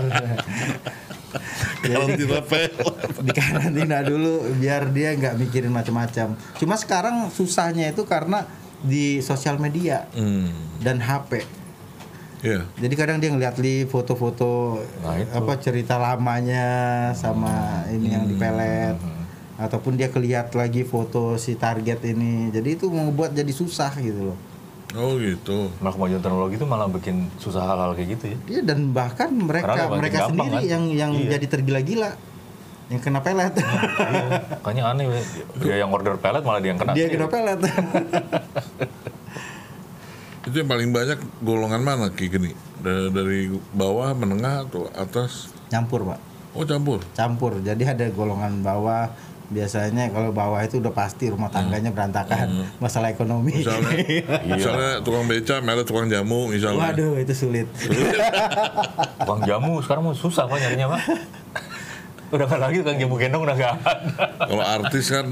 [SPEAKER 6] karantina pelet.
[SPEAKER 2] di karantina dulu biar dia nggak mikirin macam-macam cuma sekarang susahnya itu karena di sosial media
[SPEAKER 6] Hmm.
[SPEAKER 2] dan HP
[SPEAKER 6] Ya.
[SPEAKER 2] jadi kadang dia ngeliat li foto-foto
[SPEAKER 5] Nah, itu.
[SPEAKER 2] apa cerita lamanya sama ini yang dipelet ataupun dia kelihat lagi foto si target ini jadi itu membuat jadi susah gitu loh
[SPEAKER 6] Oh gitu.
[SPEAKER 5] Malah kemajuan teknologi itu malah bikin susah hal-hal kayak gitu ya.
[SPEAKER 2] Iya dan bahkan mereka
[SPEAKER 5] Karena makin
[SPEAKER 2] mereka
[SPEAKER 5] gampang,
[SPEAKER 2] sendiri
[SPEAKER 5] kan?
[SPEAKER 2] yang yang
[SPEAKER 5] Iya.
[SPEAKER 2] jadi tergila-gila yang kena pelet
[SPEAKER 5] Iya, Makanya aneh ya. Dia yang order pelet malah dia yang kena.
[SPEAKER 2] dia
[SPEAKER 5] sih.
[SPEAKER 2] kena pelet
[SPEAKER 6] Itu yang paling banyak golongan mana Ki Geni? Da- Dari, bawah, menengah atau atas?
[SPEAKER 2] Campur pak,
[SPEAKER 6] Oh campur.
[SPEAKER 2] campur. Jadi ada golongan bawah. Biasanya kalau bawah itu udah pasti rumah
[SPEAKER 5] Hmm.
[SPEAKER 2] tangganya berantakan, masalah ekonomi.
[SPEAKER 6] Misalnya, misalnya tukang beca, merah tukang jamu misalnya.
[SPEAKER 2] Waduh itu sulit.
[SPEAKER 5] Bang jamu sekarang mau susah pak nyarinya pak. udah nggak lagi kan jamu gendong udah nggak ada.
[SPEAKER 6] Kalau artis kan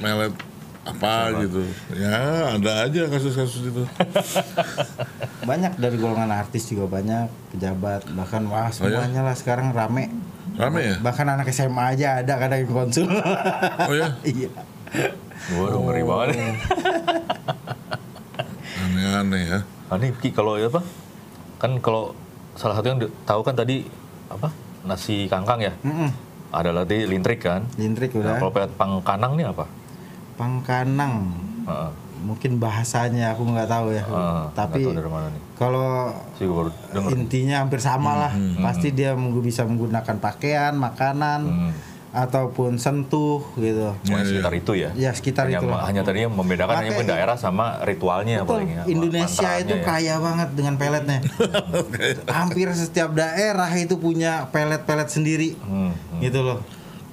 [SPEAKER 6] melet apa gitu. Ya ada aja kasus-kasus itu.
[SPEAKER 2] Banyak dari golongan artis juga banyak, pejabat bahkan wah semuanya lah sekarang rame.
[SPEAKER 6] Rame ya?
[SPEAKER 2] Bahkan anak SMA aja ada kadang yang konsul.
[SPEAKER 6] Oh ya?
[SPEAKER 2] iya. Oh.
[SPEAKER 5] Waduh ngeri banget.
[SPEAKER 6] Aneh-aneh ya.
[SPEAKER 5] Nah, ini Ki, kalau ya apa? Kan kalau salah satu yang di- tahu kan tadi apa? Nasi kangkang ya.
[SPEAKER 2] Mm-mm.
[SPEAKER 5] Ada lagi lintrik kan.
[SPEAKER 2] Lintrik
[SPEAKER 5] Nah,
[SPEAKER 2] udah.
[SPEAKER 5] kalau pet pangkanang ini apa?
[SPEAKER 2] Pangkanang.
[SPEAKER 5] Heeh.
[SPEAKER 2] Mungkin bahasanya aku nggak tahu ya.
[SPEAKER 5] Heeh,
[SPEAKER 2] Tapi
[SPEAKER 5] Ah, nggak tahu dari mana nih.
[SPEAKER 2] kalau
[SPEAKER 5] Sih gua baru denger.
[SPEAKER 2] intinya hampir sama lah.
[SPEAKER 5] Hmm,
[SPEAKER 2] Pasti dia menggu- bisa menggunakan pakaian, makanan
[SPEAKER 5] Hmm.
[SPEAKER 2] ataupun sentuh gitu.
[SPEAKER 5] Cuma sekitar itu ya.
[SPEAKER 2] Ya, sekitar
[SPEAKER 5] hanya,
[SPEAKER 2] itulah.
[SPEAKER 5] Hanya tadi yang membedakan hanya
[SPEAKER 2] Makanya-
[SPEAKER 5] mungkin daerah sama ritualnya
[SPEAKER 2] Betul.
[SPEAKER 5] paling ya.
[SPEAKER 2] Indonesia
[SPEAKER 5] mantranya
[SPEAKER 2] itu kan.
[SPEAKER 5] ya.
[SPEAKER 2] kaya banget dengan peletnya. Hampir setiap daerah itu punya pelet-pelet sendiri.
[SPEAKER 5] Hmm.
[SPEAKER 2] Gitu loh.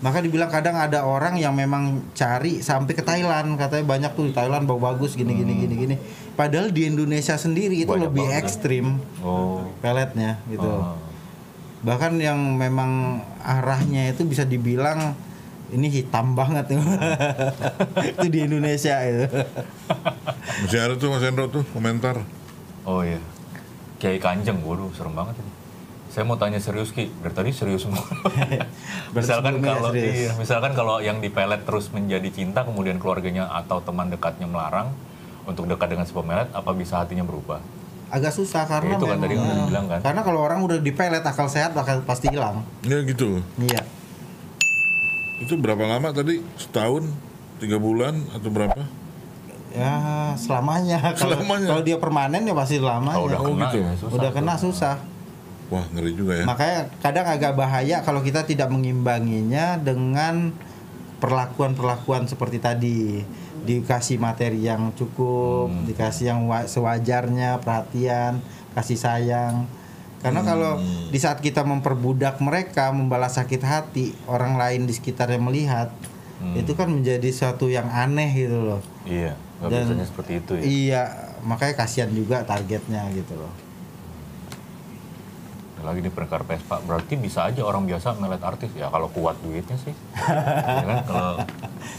[SPEAKER 2] Maka dibilang kadang ada orang yang memang cari sampai ke Thailand, katanya banyak tuh di Thailand bau bagus gini gini gini gini. Padahal di Indonesia sendiri itu lebih
[SPEAKER 5] ya?
[SPEAKER 2] ekstrim
[SPEAKER 5] Oh.
[SPEAKER 2] peletnya gitu. Bahkan yang memang arahnya itu bisa dibilang ini hitam banget itu di Indonesia gitu. itu.
[SPEAKER 6] Masih ada tuh Mas Hendro tuh komentar.
[SPEAKER 5] Oh iya. Kiai Kanjeng, waduh serem banget ini. Saya mau tanya serius Ki, dari tadi serius semua. misalkan
[SPEAKER 2] sebelumnya
[SPEAKER 5] kalau
[SPEAKER 2] serius.
[SPEAKER 5] iya, misalkan kalau yang dipelet terus menjadi cinta kemudian keluarganya atau teman dekatnya melarang untuk dekat dengan si pemelet, apa bisa hatinya berubah?
[SPEAKER 2] agak susah karena
[SPEAKER 5] itu kan tadi
[SPEAKER 2] memang- eh,
[SPEAKER 5] yang udah dibilang kan.
[SPEAKER 2] karena kalau orang udah dipelet akal sehat bakal pasti hilang
[SPEAKER 6] Ya gitu.
[SPEAKER 2] iya
[SPEAKER 6] Itu berapa lama tadi? Setahun? Tiga bulan atau berapa?
[SPEAKER 2] ya selamanya kalau
[SPEAKER 6] Selamanya.
[SPEAKER 2] kalau dia permanen ya pasti
[SPEAKER 5] Kalau
[SPEAKER 2] selamanya
[SPEAKER 5] udah
[SPEAKER 6] Oh,
[SPEAKER 5] kena
[SPEAKER 6] gitu.
[SPEAKER 5] ya susah.
[SPEAKER 2] udah kena susah
[SPEAKER 6] Wah ngeri juga ya.
[SPEAKER 2] makanya kadang agak bahaya kalau kita tidak mengimbanginya dengan perlakuan-perlakuan seperti tadi dikasih materi yang cukup
[SPEAKER 6] Hmm.
[SPEAKER 2] dikasih yang wa- sewajarnya perhatian kasih sayang
[SPEAKER 6] Hmm.
[SPEAKER 2] karena kalau di saat kita memperbudak mereka membalas sakit hati orang lain di sekitarnya melihat
[SPEAKER 6] Hmm.
[SPEAKER 2] itu kan menjadi suatu yang aneh gitu loh
[SPEAKER 5] Iya, nggak
[SPEAKER 2] Dan-
[SPEAKER 5] biasanya seperti itu ya.
[SPEAKER 2] iya makanya kasihan juga targetnya gitu loh
[SPEAKER 5] Ada Lagi di perkara Vespa, berarti bisa aja orang biasa melet artis ya kalau kuat duitnya sih. ya kan kalau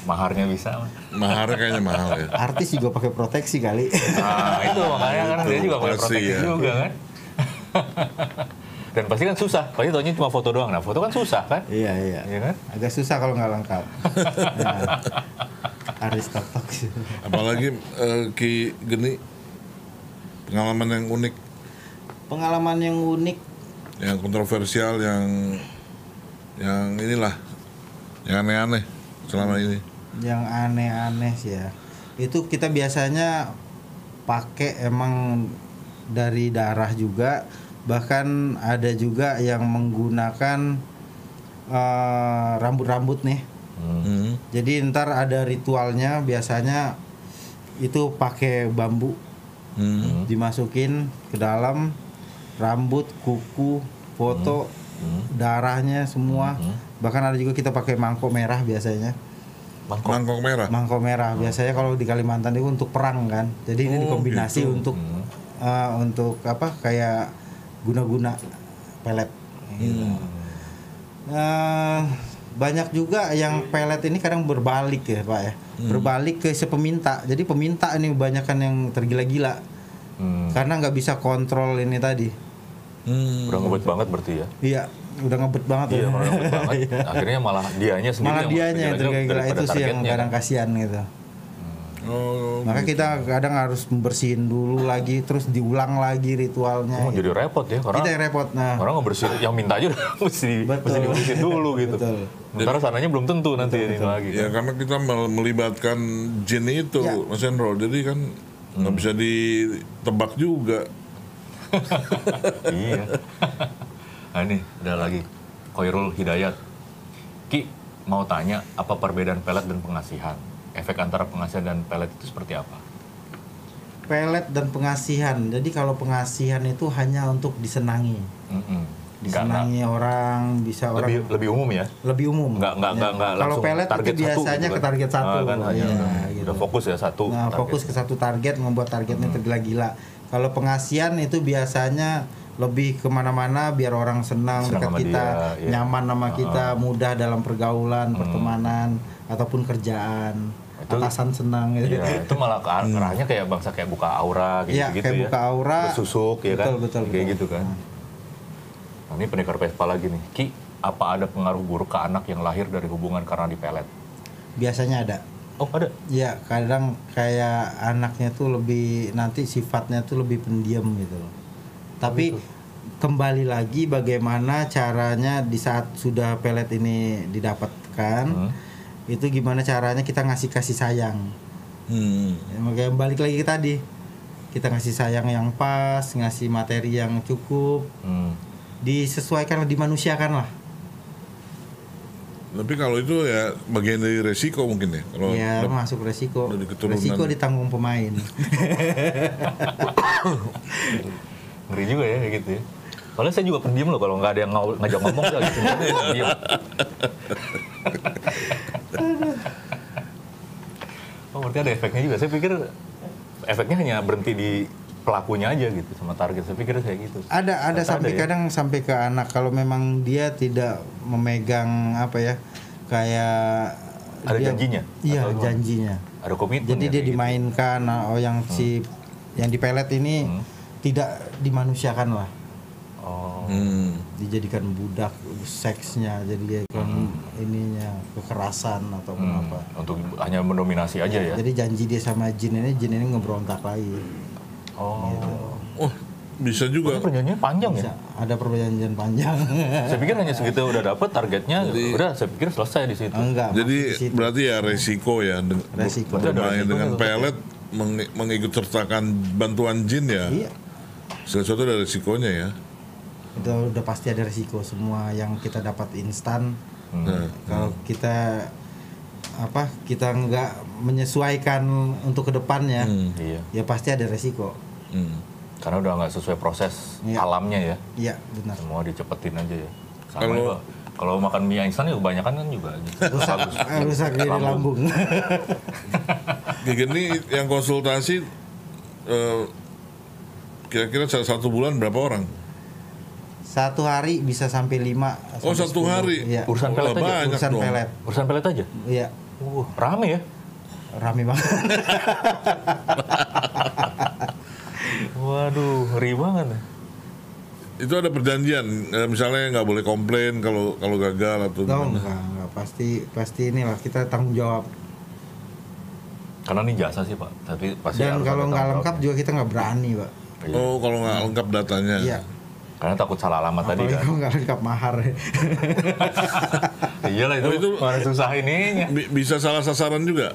[SPEAKER 5] maharnya bisa.
[SPEAKER 6] Mahar kayaknya mahal ya.
[SPEAKER 2] artis juga pakai proteksi kali
[SPEAKER 5] Nah, itu makanya kan dia juga boleh
[SPEAKER 6] Pasti,
[SPEAKER 5] proteksi
[SPEAKER 6] ya.
[SPEAKER 5] juga kan. Dan pasti kan susah, pasti taunya cuma foto doang. Nah, foto kan susah kan?
[SPEAKER 2] iya iya
[SPEAKER 5] Iya kan?
[SPEAKER 2] agak susah kalau nggak lengkap nah, aristotok
[SPEAKER 6] Apalagi eh, Ki Geni pengalaman yang unik,
[SPEAKER 2] pengalaman yang unik
[SPEAKER 6] yang kontroversial, yang yang inilah yang aneh-aneh selama ini.
[SPEAKER 2] yang aneh-aneh sih ya itu kita biasanya pakai emang dari darah juga bahkan ada juga yang menggunakan eh, rambut-rambut nih
[SPEAKER 6] Hmm.
[SPEAKER 2] jadi ntar ada ritualnya biasanya itu pakai bambu
[SPEAKER 6] Hmm.
[SPEAKER 2] dimasukin ke dalam rambut, kuku, foto, darahnya semua. Bahkan ada juga kita pakai mangkok merah biasanya.
[SPEAKER 6] Mangkok
[SPEAKER 5] Ah.
[SPEAKER 6] merah.
[SPEAKER 2] Mangkok merah biasanya kalau di Kalimantan itu untuk perang kan.
[SPEAKER 5] Oh,
[SPEAKER 2] Jadi ini dikombinasi
[SPEAKER 5] gitu.
[SPEAKER 2] untuk
[SPEAKER 5] Hmm.
[SPEAKER 2] eh, untuk apa kayak guna-guna pelet gitu.
[SPEAKER 5] Hmm.
[SPEAKER 2] Eh, banyak juga yang pelet ini kadang berbalik ya Pak ya.
[SPEAKER 5] Hmm.
[SPEAKER 2] Berbalik ke si peminta. Jadi peminta ini kebanyakan yang tergila-gila.
[SPEAKER 5] Hmm.
[SPEAKER 2] Karena nggak bisa kontrol ini tadi.
[SPEAKER 6] Hmm.
[SPEAKER 5] Udah ngebet banget berarti ya.
[SPEAKER 2] Iya, udah ngebet banget
[SPEAKER 5] Iya,
[SPEAKER 2] ya.
[SPEAKER 5] udah ngebet banget. Akhirnya malah dianya sendiri
[SPEAKER 2] Malah dianya yang tergila-gila
[SPEAKER 5] daripada
[SPEAKER 2] itu sih yang
[SPEAKER 5] targetnya,
[SPEAKER 2] kadang
[SPEAKER 5] kan?
[SPEAKER 2] kasihan gitu.
[SPEAKER 6] Oh,
[SPEAKER 2] Maka
[SPEAKER 5] Gitu.
[SPEAKER 2] kita kadang harus membersihin dulu lagi, terus diulang lagi ritualnya.
[SPEAKER 5] Oh, jadi repot ya karena
[SPEAKER 2] Kita yang repot. Nah,
[SPEAKER 5] orang ngebersihin yang minta aja udah mesti mesti
[SPEAKER 2] Betul.
[SPEAKER 5] dibersihin dulu gitu.
[SPEAKER 2] Betul. Iya,
[SPEAKER 5] Sementara sananya belum tentu nanti ini lagi.
[SPEAKER 6] ya karena kita mel- melibatkan jin itu,
[SPEAKER 2] Ya.
[SPEAKER 6] Mas Hendro. Jadi kan nggak bisa ditebak juga.
[SPEAKER 5] iya. nah, ini ada lagi Koirul Hidayat. Ki mau tanya apa perbedaan pelet dan pengasihan? Efek antara pengasihan dan pelet itu seperti apa?
[SPEAKER 2] pelet dan pengasihan. Jadi kalau pengasihan itu hanya untuk disenangi,
[SPEAKER 5] Mm-mm. Karena
[SPEAKER 2] disenangi orang bisa orang
[SPEAKER 5] lebih lebih umum ya.
[SPEAKER 2] lebih umum.
[SPEAKER 5] Nggak nggak
[SPEAKER 2] Ya.
[SPEAKER 5] nggak nggak
[SPEAKER 2] Kalau
[SPEAKER 5] langsung
[SPEAKER 2] pelet
[SPEAKER 5] target
[SPEAKER 2] itu biasanya
[SPEAKER 5] satu,
[SPEAKER 2] ke target satu.
[SPEAKER 5] Ah, kan, hanya
[SPEAKER 2] Ya,
[SPEAKER 5] udah-
[SPEAKER 2] gitu.
[SPEAKER 5] udah fokus ya satu.
[SPEAKER 2] Nah,
[SPEAKER 5] target. Hmm.
[SPEAKER 2] fokus ke satu target membuat targetnya tergila-gila. Kalau pengasian itu biasanya lebih kemana-mana biar orang senang
[SPEAKER 5] Senang
[SPEAKER 2] dekat
[SPEAKER 5] sama
[SPEAKER 2] kita,
[SPEAKER 5] dia, iya. Hmm.
[SPEAKER 2] nyaman sama kita, mudah dalam pergaulan, pertemanan ataupun kerjaan.
[SPEAKER 5] Itu-
[SPEAKER 2] Atasan senang. gitu.
[SPEAKER 5] Iya, itu malah ke arah- arahnya kayak bangsa kayak buka aura gitu,
[SPEAKER 2] Iya,
[SPEAKER 5] gitu
[SPEAKER 2] kayak
[SPEAKER 5] ya.
[SPEAKER 2] buka aura.
[SPEAKER 5] Bersusuk ya kan.
[SPEAKER 2] Betul, betul,
[SPEAKER 5] kayak
[SPEAKER 2] betul.
[SPEAKER 5] gitu kan. Nah, ini pendekar Vespa lagi nih. Ki, apa ada pengaruh buruk ke anak yang lahir dari hubungan karena dipelet?
[SPEAKER 2] Biasanya ada.
[SPEAKER 5] Oh, ada.
[SPEAKER 2] Ya kadang kayak anaknya tuh lebih nanti sifatnya tuh lebih pendiam gitu loh. Tapi kembali lagi bagaimana caranya di saat sudah pelet ini didapatkan, itu gimana caranya kita ngasih kasih sayang.
[SPEAKER 6] Hmm.
[SPEAKER 2] Ya, makanya balik lagi ke tadi, kita ngasih sayang yang pas, ngasih materi yang cukup,
[SPEAKER 5] Hmm.
[SPEAKER 2] disesuaikan, dimanusiakan lah.
[SPEAKER 6] Tapi kalau itu ya bagian dari resiko mungkin ya. Kalau
[SPEAKER 2] ya masuk resiko,
[SPEAKER 6] dari keturunan.
[SPEAKER 2] resiko ditanggung pemain.
[SPEAKER 5] Ngeri juga ya kayak gitu ya. Soalnya saya juga pendiam loh kalau nggak ada yang ngaw- ngajak ngomong saya gitu. Pendiam. oh berarti ada efeknya juga. Saya pikir efeknya hanya berhenti di pelakunya aja gitu sama target. Saya pikir kayak gitu.
[SPEAKER 2] ada ada
[SPEAKER 5] Ternyata
[SPEAKER 2] sampai
[SPEAKER 5] ada ya.
[SPEAKER 2] kadang sampai ke anak kalau memang dia tidak memegang apa ya kayak
[SPEAKER 5] Ada janjinya?
[SPEAKER 2] iya
[SPEAKER 5] Atau gimana?
[SPEAKER 2] janjinya
[SPEAKER 5] Ada komitmen.
[SPEAKER 2] jadi
[SPEAKER 5] ya kayak
[SPEAKER 2] dia
[SPEAKER 5] gitu. Hmm.
[SPEAKER 2] dimainkan nah, oh yang si yang dipelet ini tidak dimanusiakan lah
[SPEAKER 5] Oh.
[SPEAKER 6] Hmm.
[SPEAKER 2] dijadikan budak seksnya jadi ininya kekerasan ataupun
[SPEAKER 5] Hmm,
[SPEAKER 2] apa
[SPEAKER 5] Untuk hanya mendominasi aja ya.
[SPEAKER 2] jadi janji dia sama jin ini jin ini ngebrontak lagi
[SPEAKER 5] Iya. Oh.
[SPEAKER 6] Oh, bisa juga.
[SPEAKER 5] Itu perjanjiannya panjang ya.
[SPEAKER 2] iya. Bisa ada perjanjian panjang
[SPEAKER 5] Saya pikir hanya segitu udah dapet targetnya, udah saya pikir selesai di situ.
[SPEAKER 2] enggak maksud di
[SPEAKER 6] Jadi
[SPEAKER 2] situ.
[SPEAKER 6] berarti ya resiko ya de-
[SPEAKER 2] Resiko.
[SPEAKER 6] ber- bermain
[SPEAKER 5] Ada resiko
[SPEAKER 6] dengan
[SPEAKER 5] tetap
[SPEAKER 6] pelet meng- mengikut sertakan bantuan jin ya.
[SPEAKER 2] iya
[SPEAKER 6] Sesuatu ada resikonya ya.
[SPEAKER 2] itu udah pasti ada resiko semua yang kita dapat instan kalau kita apa kita nggak menyesuaikan untuk kedepannya
[SPEAKER 5] Iya.
[SPEAKER 2] ya pasti ada resiko
[SPEAKER 6] Hmm.
[SPEAKER 5] Karena udah nggak sesuai proses
[SPEAKER 2] Iya.
[SPEAKER 5] alamnya ya.
[SPEAKER 2] iya benar
[SPEAKER 5] Semua dicepetin aja ya. Sama
[SPEAKER 6] Kalau-
[SPEAKER 5] juga. Kalau makan mie instan ya kebanyakan kan juga gitu.
[SPEAKER 2] rusak
[SPEAKER 5] Bagus.
[SPEAKER 2] eh, rusak di lambung
[SPEAKER 6] Kayak gini yang konsultasi eh, kira-kira sa- satu bulan berapa orang?
[SPEAKER 2] satu hari bisa sampai lima
[SPEAKER 6] Oh,
[SPEAKER 2] sampai
[SPEAKER 6] satu
[SPEAKER 2] sepuluh.
[SPEAKER 6] hari?
[SPEAKER 2] iya
[SPEAKER 5] Urusan
[SPEAKER 6] Oh,
[SPEAKER 5] pelet aja.
[SPEAKER 6] banyak
[SPEAKER 2] urusan
[SPEAKER 6] dong.
[SPEAKER 2] pelet
[SPEAKER 5] Urusan pelet aja.
[SPEAKER 2] iya
[SPEAKER 5] Uh, rame ya.
[SPEAKER 2] rame banget
[SPEAKER 5] Waduh, ngeri banget. ya.
[SPEAKER 6] Itu ada perjanjian, eh, misalnya nggak boleh komplain kalau kalau gagal atau
[SPEAKER 2] tau
[SPEAKER 6] gimana.
[SPEAKER 2] nggak nggak pasti pasti inilah kita tanggung jawab
[SPEAKER 5] Karena ini jasa sih pak. Tapi pasti
[SPEAKER 2] dan
[SPEAKER 5] harus
[SPEAKER 2] kalau
[SPEAKER 5] ada
[SPEAKER 2] nggak
[SPEAKER 5] tanggung
[SPEAKER 2] lengkap juga kita nggak berani pak
[SPEAKER 5] Iya.
[SPEAKER 6] Oh, kalau nggak lengkap datanya.
[SPEAKER 2] iya
[SPEAKER 5] jawabnya. Karena takut salah alamat tadi
[SPEAKER 2] apalagi
[SPEAKER 5] kan.
[SPEAKER 2] kalau nggak lengkap mahar
[SPEAKER 5] Iyalah Iya itu,
[SPEAKER 6] Oh, itu-
[SPEAKER 5] mana susah ininya.
[SPEAKER 6] Bi- bisa salah sasaran juga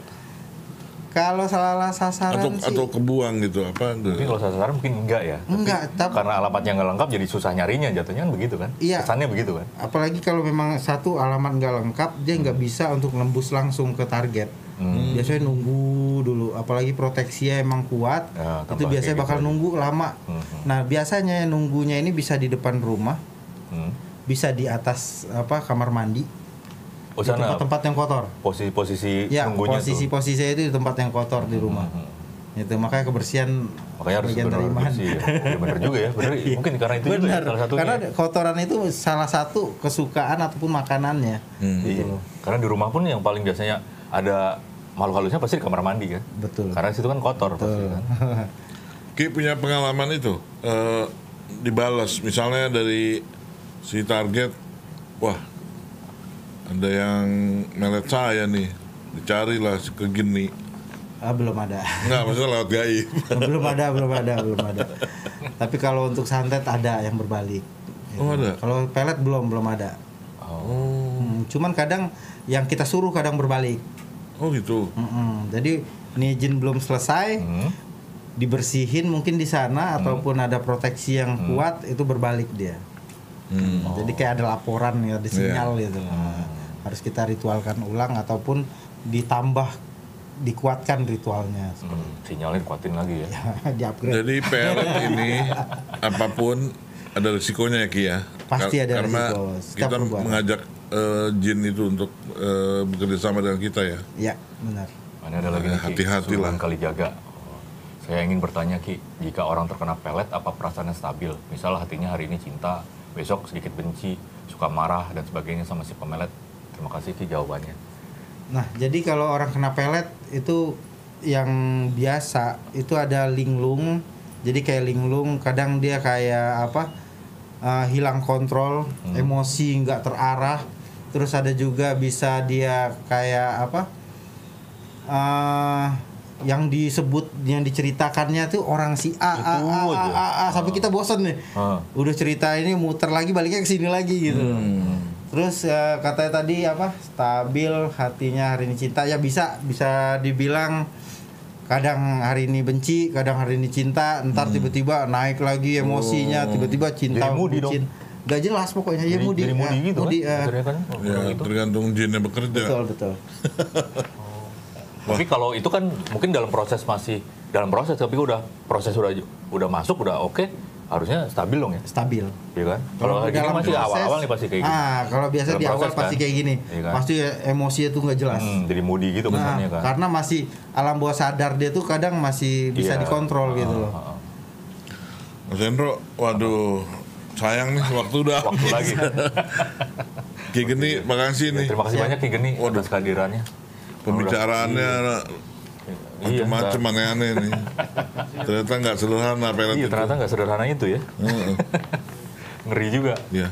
[SPEAKER 2] Kalau salah sasaran
[SPEAKER 6] atau
[SPEAKER 2] sih
[SPEAKER 6] atau kebuang gitu apa?
[SPEAKER 5] Tapi kalau salah sasaran mungkin enggak ya. Tapi
[SPEAKER 2] enggak, tapi
[SPEAKER 5] Karena alamatnya nggak lengkap jadi susah nyarinya jatuhnya kan begitu kan?
[SPEAKER 2] Iya.
[SPEAKER 5] Kesannya begitu kan?
[SPEAKER 2] apalagi kalau memang satu alamat nggak lengkap, dia nggak bisa untuk nembus langsung ke target.
[SPEAKER 5] Hmm.
[SPEAKER 2] Biasanya nunggu dulu, apalagi proteksinya emang kuat,
[SPEAKER 5] Ya, tambah
[SPEAKER 2] itu biasanya
[SPEAKER 5] kayak gitu Hmm.
[SPEAKER 2] bakal
[SPEAKER 5] lagi.
[SPEAKER 2] nunggu lama. Nah biasanya nunggunya ini bisa di depan rumah,
[SPEAKER 5] Hmm.
[SPEAKER 2] bisa di atas apa kamar mandi,
[SPEAKER 5] Oh
[SPEAKER 2] di
[SPEAKER 5] sana
[SPEAKER 2] tempat-tempat yang kotor.
[SPEAKER 5] posisi-posisi
[SPEAKER 2] Ya
[SPEAKER 5] nunggunya tuh. Hmm.
[SPEAKER 2] posisi-posisi itu di tempat yang kotor di rumah. Itu makanya kebersihan
[SPEAKER 5] Makanya harus
[SPEAKER 2] bagian dari
[SPEAKER 5] benar-benar
[SPEAKER 2] iman.
[SPEAKER 5] bersih ya. ya. Bener juga ya, bener. Mungkin karena itu juga ya,
[SPEAKER 2] Iya. Benar,
[SPEAKER 5] salah satunya.
[SPEAKER 2] karena kotoran itu salah satu kesukaan ataupun makanannya.
[SPEAKER 5] Iya. Karena di rumah pun yang paling biasanya ada makhluk halusnya pasti di kamar mandi kan.
[SPEAKER 2] Betul.
[SPEAKER 5] Karena situ kan kotor pasti kan.
[SPEAKER 6] Ki punya pengalaman itu eh, dibalas misalnya dari si target wah ada yang melet saya nih dicarilah ke gini
[SPEAKER 2] Ah, belum ada.
[SPEAKER 6] nggak maksudnya lewat gaib
[SPEAKER 2] belum ada, belum ada, belum ada. Tapi kalau untuk santet ada yang berbalik.
[SPEAKER 6] Oh,
[SPEAKER 5] Iya.
[SPEAKER 6] ada?
[SPEAKER 2] Kalau pelet belum, belum ada.
[SPEAKER 5] Oh.
[SPEAKER 2] Hmm, cuman kadang yang kita suruh kadang berbalik.
[SPEAKER 6] oh gitu
[SPEAKER 2] Mm-mm. Jadi ini jin belum selesai. Dibersihin mungkin di sana ataupun ada proteksi yang kuat itu berbalik dia. Jadi kayak ada laporan ya, ada sinyal gitu. Nah, Harus kita ritualkan ulang ataupun ditambah dikuatkan ritualnya
[SPEAKER 5] Hmm, sinyalnya dikuatin lagi
[SPEAKER 2] Iya.
[SPEAKER 5] ya.
[SPEAKER 2] di upgrade
[SPEAKER 6] Jadi pelet ini apapun ada risikonya ya Ki ya.
[SPEAKER 2] Pasti
[SPEAKER 6] Kar-
[SPEAKER 2] ada
[SPEAKER 6] karena
[SPEAKER 2] risiko, setiap
[SPEAKER 6] kita
[SPEAKER 2] perbuatan.
[SPEAKER 6] mengajak eh, jin itu untuk eh, bekerja sama dengan kita ya.
[SPEAKER 2] ya benar
[SPEAKER 5] Ini ada lagi nih, Ki.
[SPEAKER 6] Hati-hati
[SPEAKER 5] Suruhan
[SPEAKER 6] lah.
[SPEAKER 5] kali jaga. Oh. Saya ingin bertanya Ki, jika orang terkena pelet apa perasaannya stabil? Misal hatinya hari ini cinta, besok sedikit benci, suka marah dan sebagainya sama si pemelet. Terima kasih Ki jawabannya.
[SPEAKER 2] Nah, jadi kalau orang kena pelet itu yang biasa itu ada linglung. Jadi kayak linglung, kadang dia kayak apa? eh, hilang kontrol, emosi nggak terarah. Terus ada juga bisa dia kayak apa? eh yang disebut yang diceritakannya tuh orang si A A
[SPEAKER 5] Itu
[SPEAKER 2] A A,
[SPEAKER 5] aja.
[SPEAKER 2] A, A, Ah, sampai kita bosan nih.
[SPEAKER 5] Ah.
[SPEAKER 2] Udah cerita ini muter lagi baliknya ke sini lagi gitu.
[SPEAKER 5] Hmm.
[SPEAKER 2] Terus eh, katanya tadi apa? Stabil hatinya hari ini cinta ya bisa bisa dibilang kadang hari ini benci, kadang hari ini cinta, ntar tiba-tiba naik lagi emosinya, tiba-tiba cinta
[SPEAKER 5] Hmm. Oh. Jadi moody dong.
[SPEAKER 2] bucin. Gak jelas pokoknya ya
[SPEAKER 5] Jadi-
[SPEAKER 2] mudi. eh, iya.
[SPEAKER 5] jadi moody gitu kan? Akhirnya kan? Oh,
[SPEAKER 6] Ya,
[SPEAKER 5] bilang gitu.
[SPEAKER 6] tergantung jinnya bekerja.
[SPEAKER 2] betul betul.
[SPEAKER 5] Tapi kalau itu kan mungkin dalam proses masih dalam proses tapi udah proses udah udah masuk udah oke harusnya stabil dong ya,
[SPEAKER 2] Stabil.
[SPEAKER 5] iya kan? Kalau hari ini
[SPEAKER 2] dalam
[SPEAKER 5] masih
[SPEAKER 2] proses-
[SPEAKER 5] awal-awal nih pasti kayak gitu.
[SPEAKER 2] Ah, kalau biasa
[SPEAKER 5] Dalam
[SPEAKER 2] di awal
[SPEAKER 5] proses
[SPEAKER 2] pasti
[SPEAKER 5] kan?
[SPEAKER 2] kayak gini.
[SPEAKER 5] Iya kan?
[SPEAKER 2] Pasti ya, emosinya tuh nggak jelas.
[SPEAKER 5] Hmm, jadi moody gitu
[SPEAKER 2] Nah,
[SPEAKER 5] kesannya kan.
[SPEAKER 2] karena masih alam bawah sadar dia tuh kadang masih bisa
[SPEAKER 5] Iya.
[SPEAKER 2] dikontrol gitu loh.
[SPEAKER 5] Ah, ah, ah.
[SPEAKER 6] Mas Hendro, waduh sayang nih waktu udah
[SPEAKER 5] Waktu
[SPEAKER 6] habis.
[SPEAKER 5] lagi.
[SPEAKER 6] Ki Geni,
[SPEAKER 5] Ya,
[SPEAKER 6] makasih nih
[SPEAKER 5] terima kasih banyak Ki Geni
[SPEAKER 6] Waduh.
[SPEAKER 5] atas kehadirannya.
[SPEAKER 6] pembicaraannya
[SPEAKER 5] Iya,
[SPEAKER 6] macam-macam aneh-aneh nih. Ternyata nggak sederhana pelet
[SPEAKER 5] Iya
[SPEAKER 6] itu.
[SPEAKER 5] ternyata nggak sederhana itu ya.
[SPEAKER 6] Heeh,
[SPEAKER 5] Ngeri juga.
[SPEAKER 6] Iya.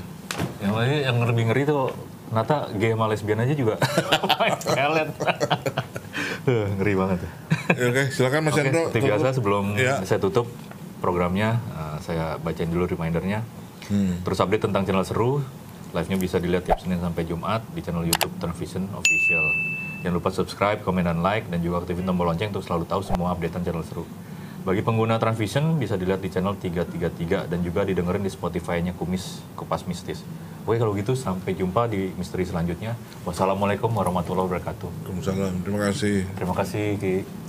[SPEAKER 5] Yang lain yang lebih ngeri tuh Nata gay sama lesbian aja juga. Main pelet. Huh, ngeri banget.
[SPEAKER 6] Ya, Oke, silakan Mas
[SPEAKER 5] Oke,
[SPEAKER 6] Hendro.
[SPEAKER 5] seperti
[SPEAKER 6] tutup.
[SPEAKER 5] biasa sebelum
[SPEAKER 6] Ya.
[SPEAKER 5] saya tutup programnya, eh, saya bacain dulu remindernya.
[SPEAKER 6] Hmm.
[SPEAKER 5] Terus update tentang channel seru. Live-nya bisa dilihat tiap Senin sampai Jumat di channel YouTube Transvision Official. Jangan lupa subscribe, komen, dan like, dan juga aktifin tombol lonceng untuk selalu tahu semua updatean channel seru. Bagi pengguna Transvision bisa dilihat di channel 333 dan juga didengerin di Spotify-nya Kumis Kupas Mistis. Oke kalau gitu sampai jumpa di misteri selanjutnya. Wassalamualaikum warahmatullahi wabarakatuh.
[SPEAKER 6] Waalaikumsalam. Terima kasih.
[SPEAKER 5] Terima kasih Ki.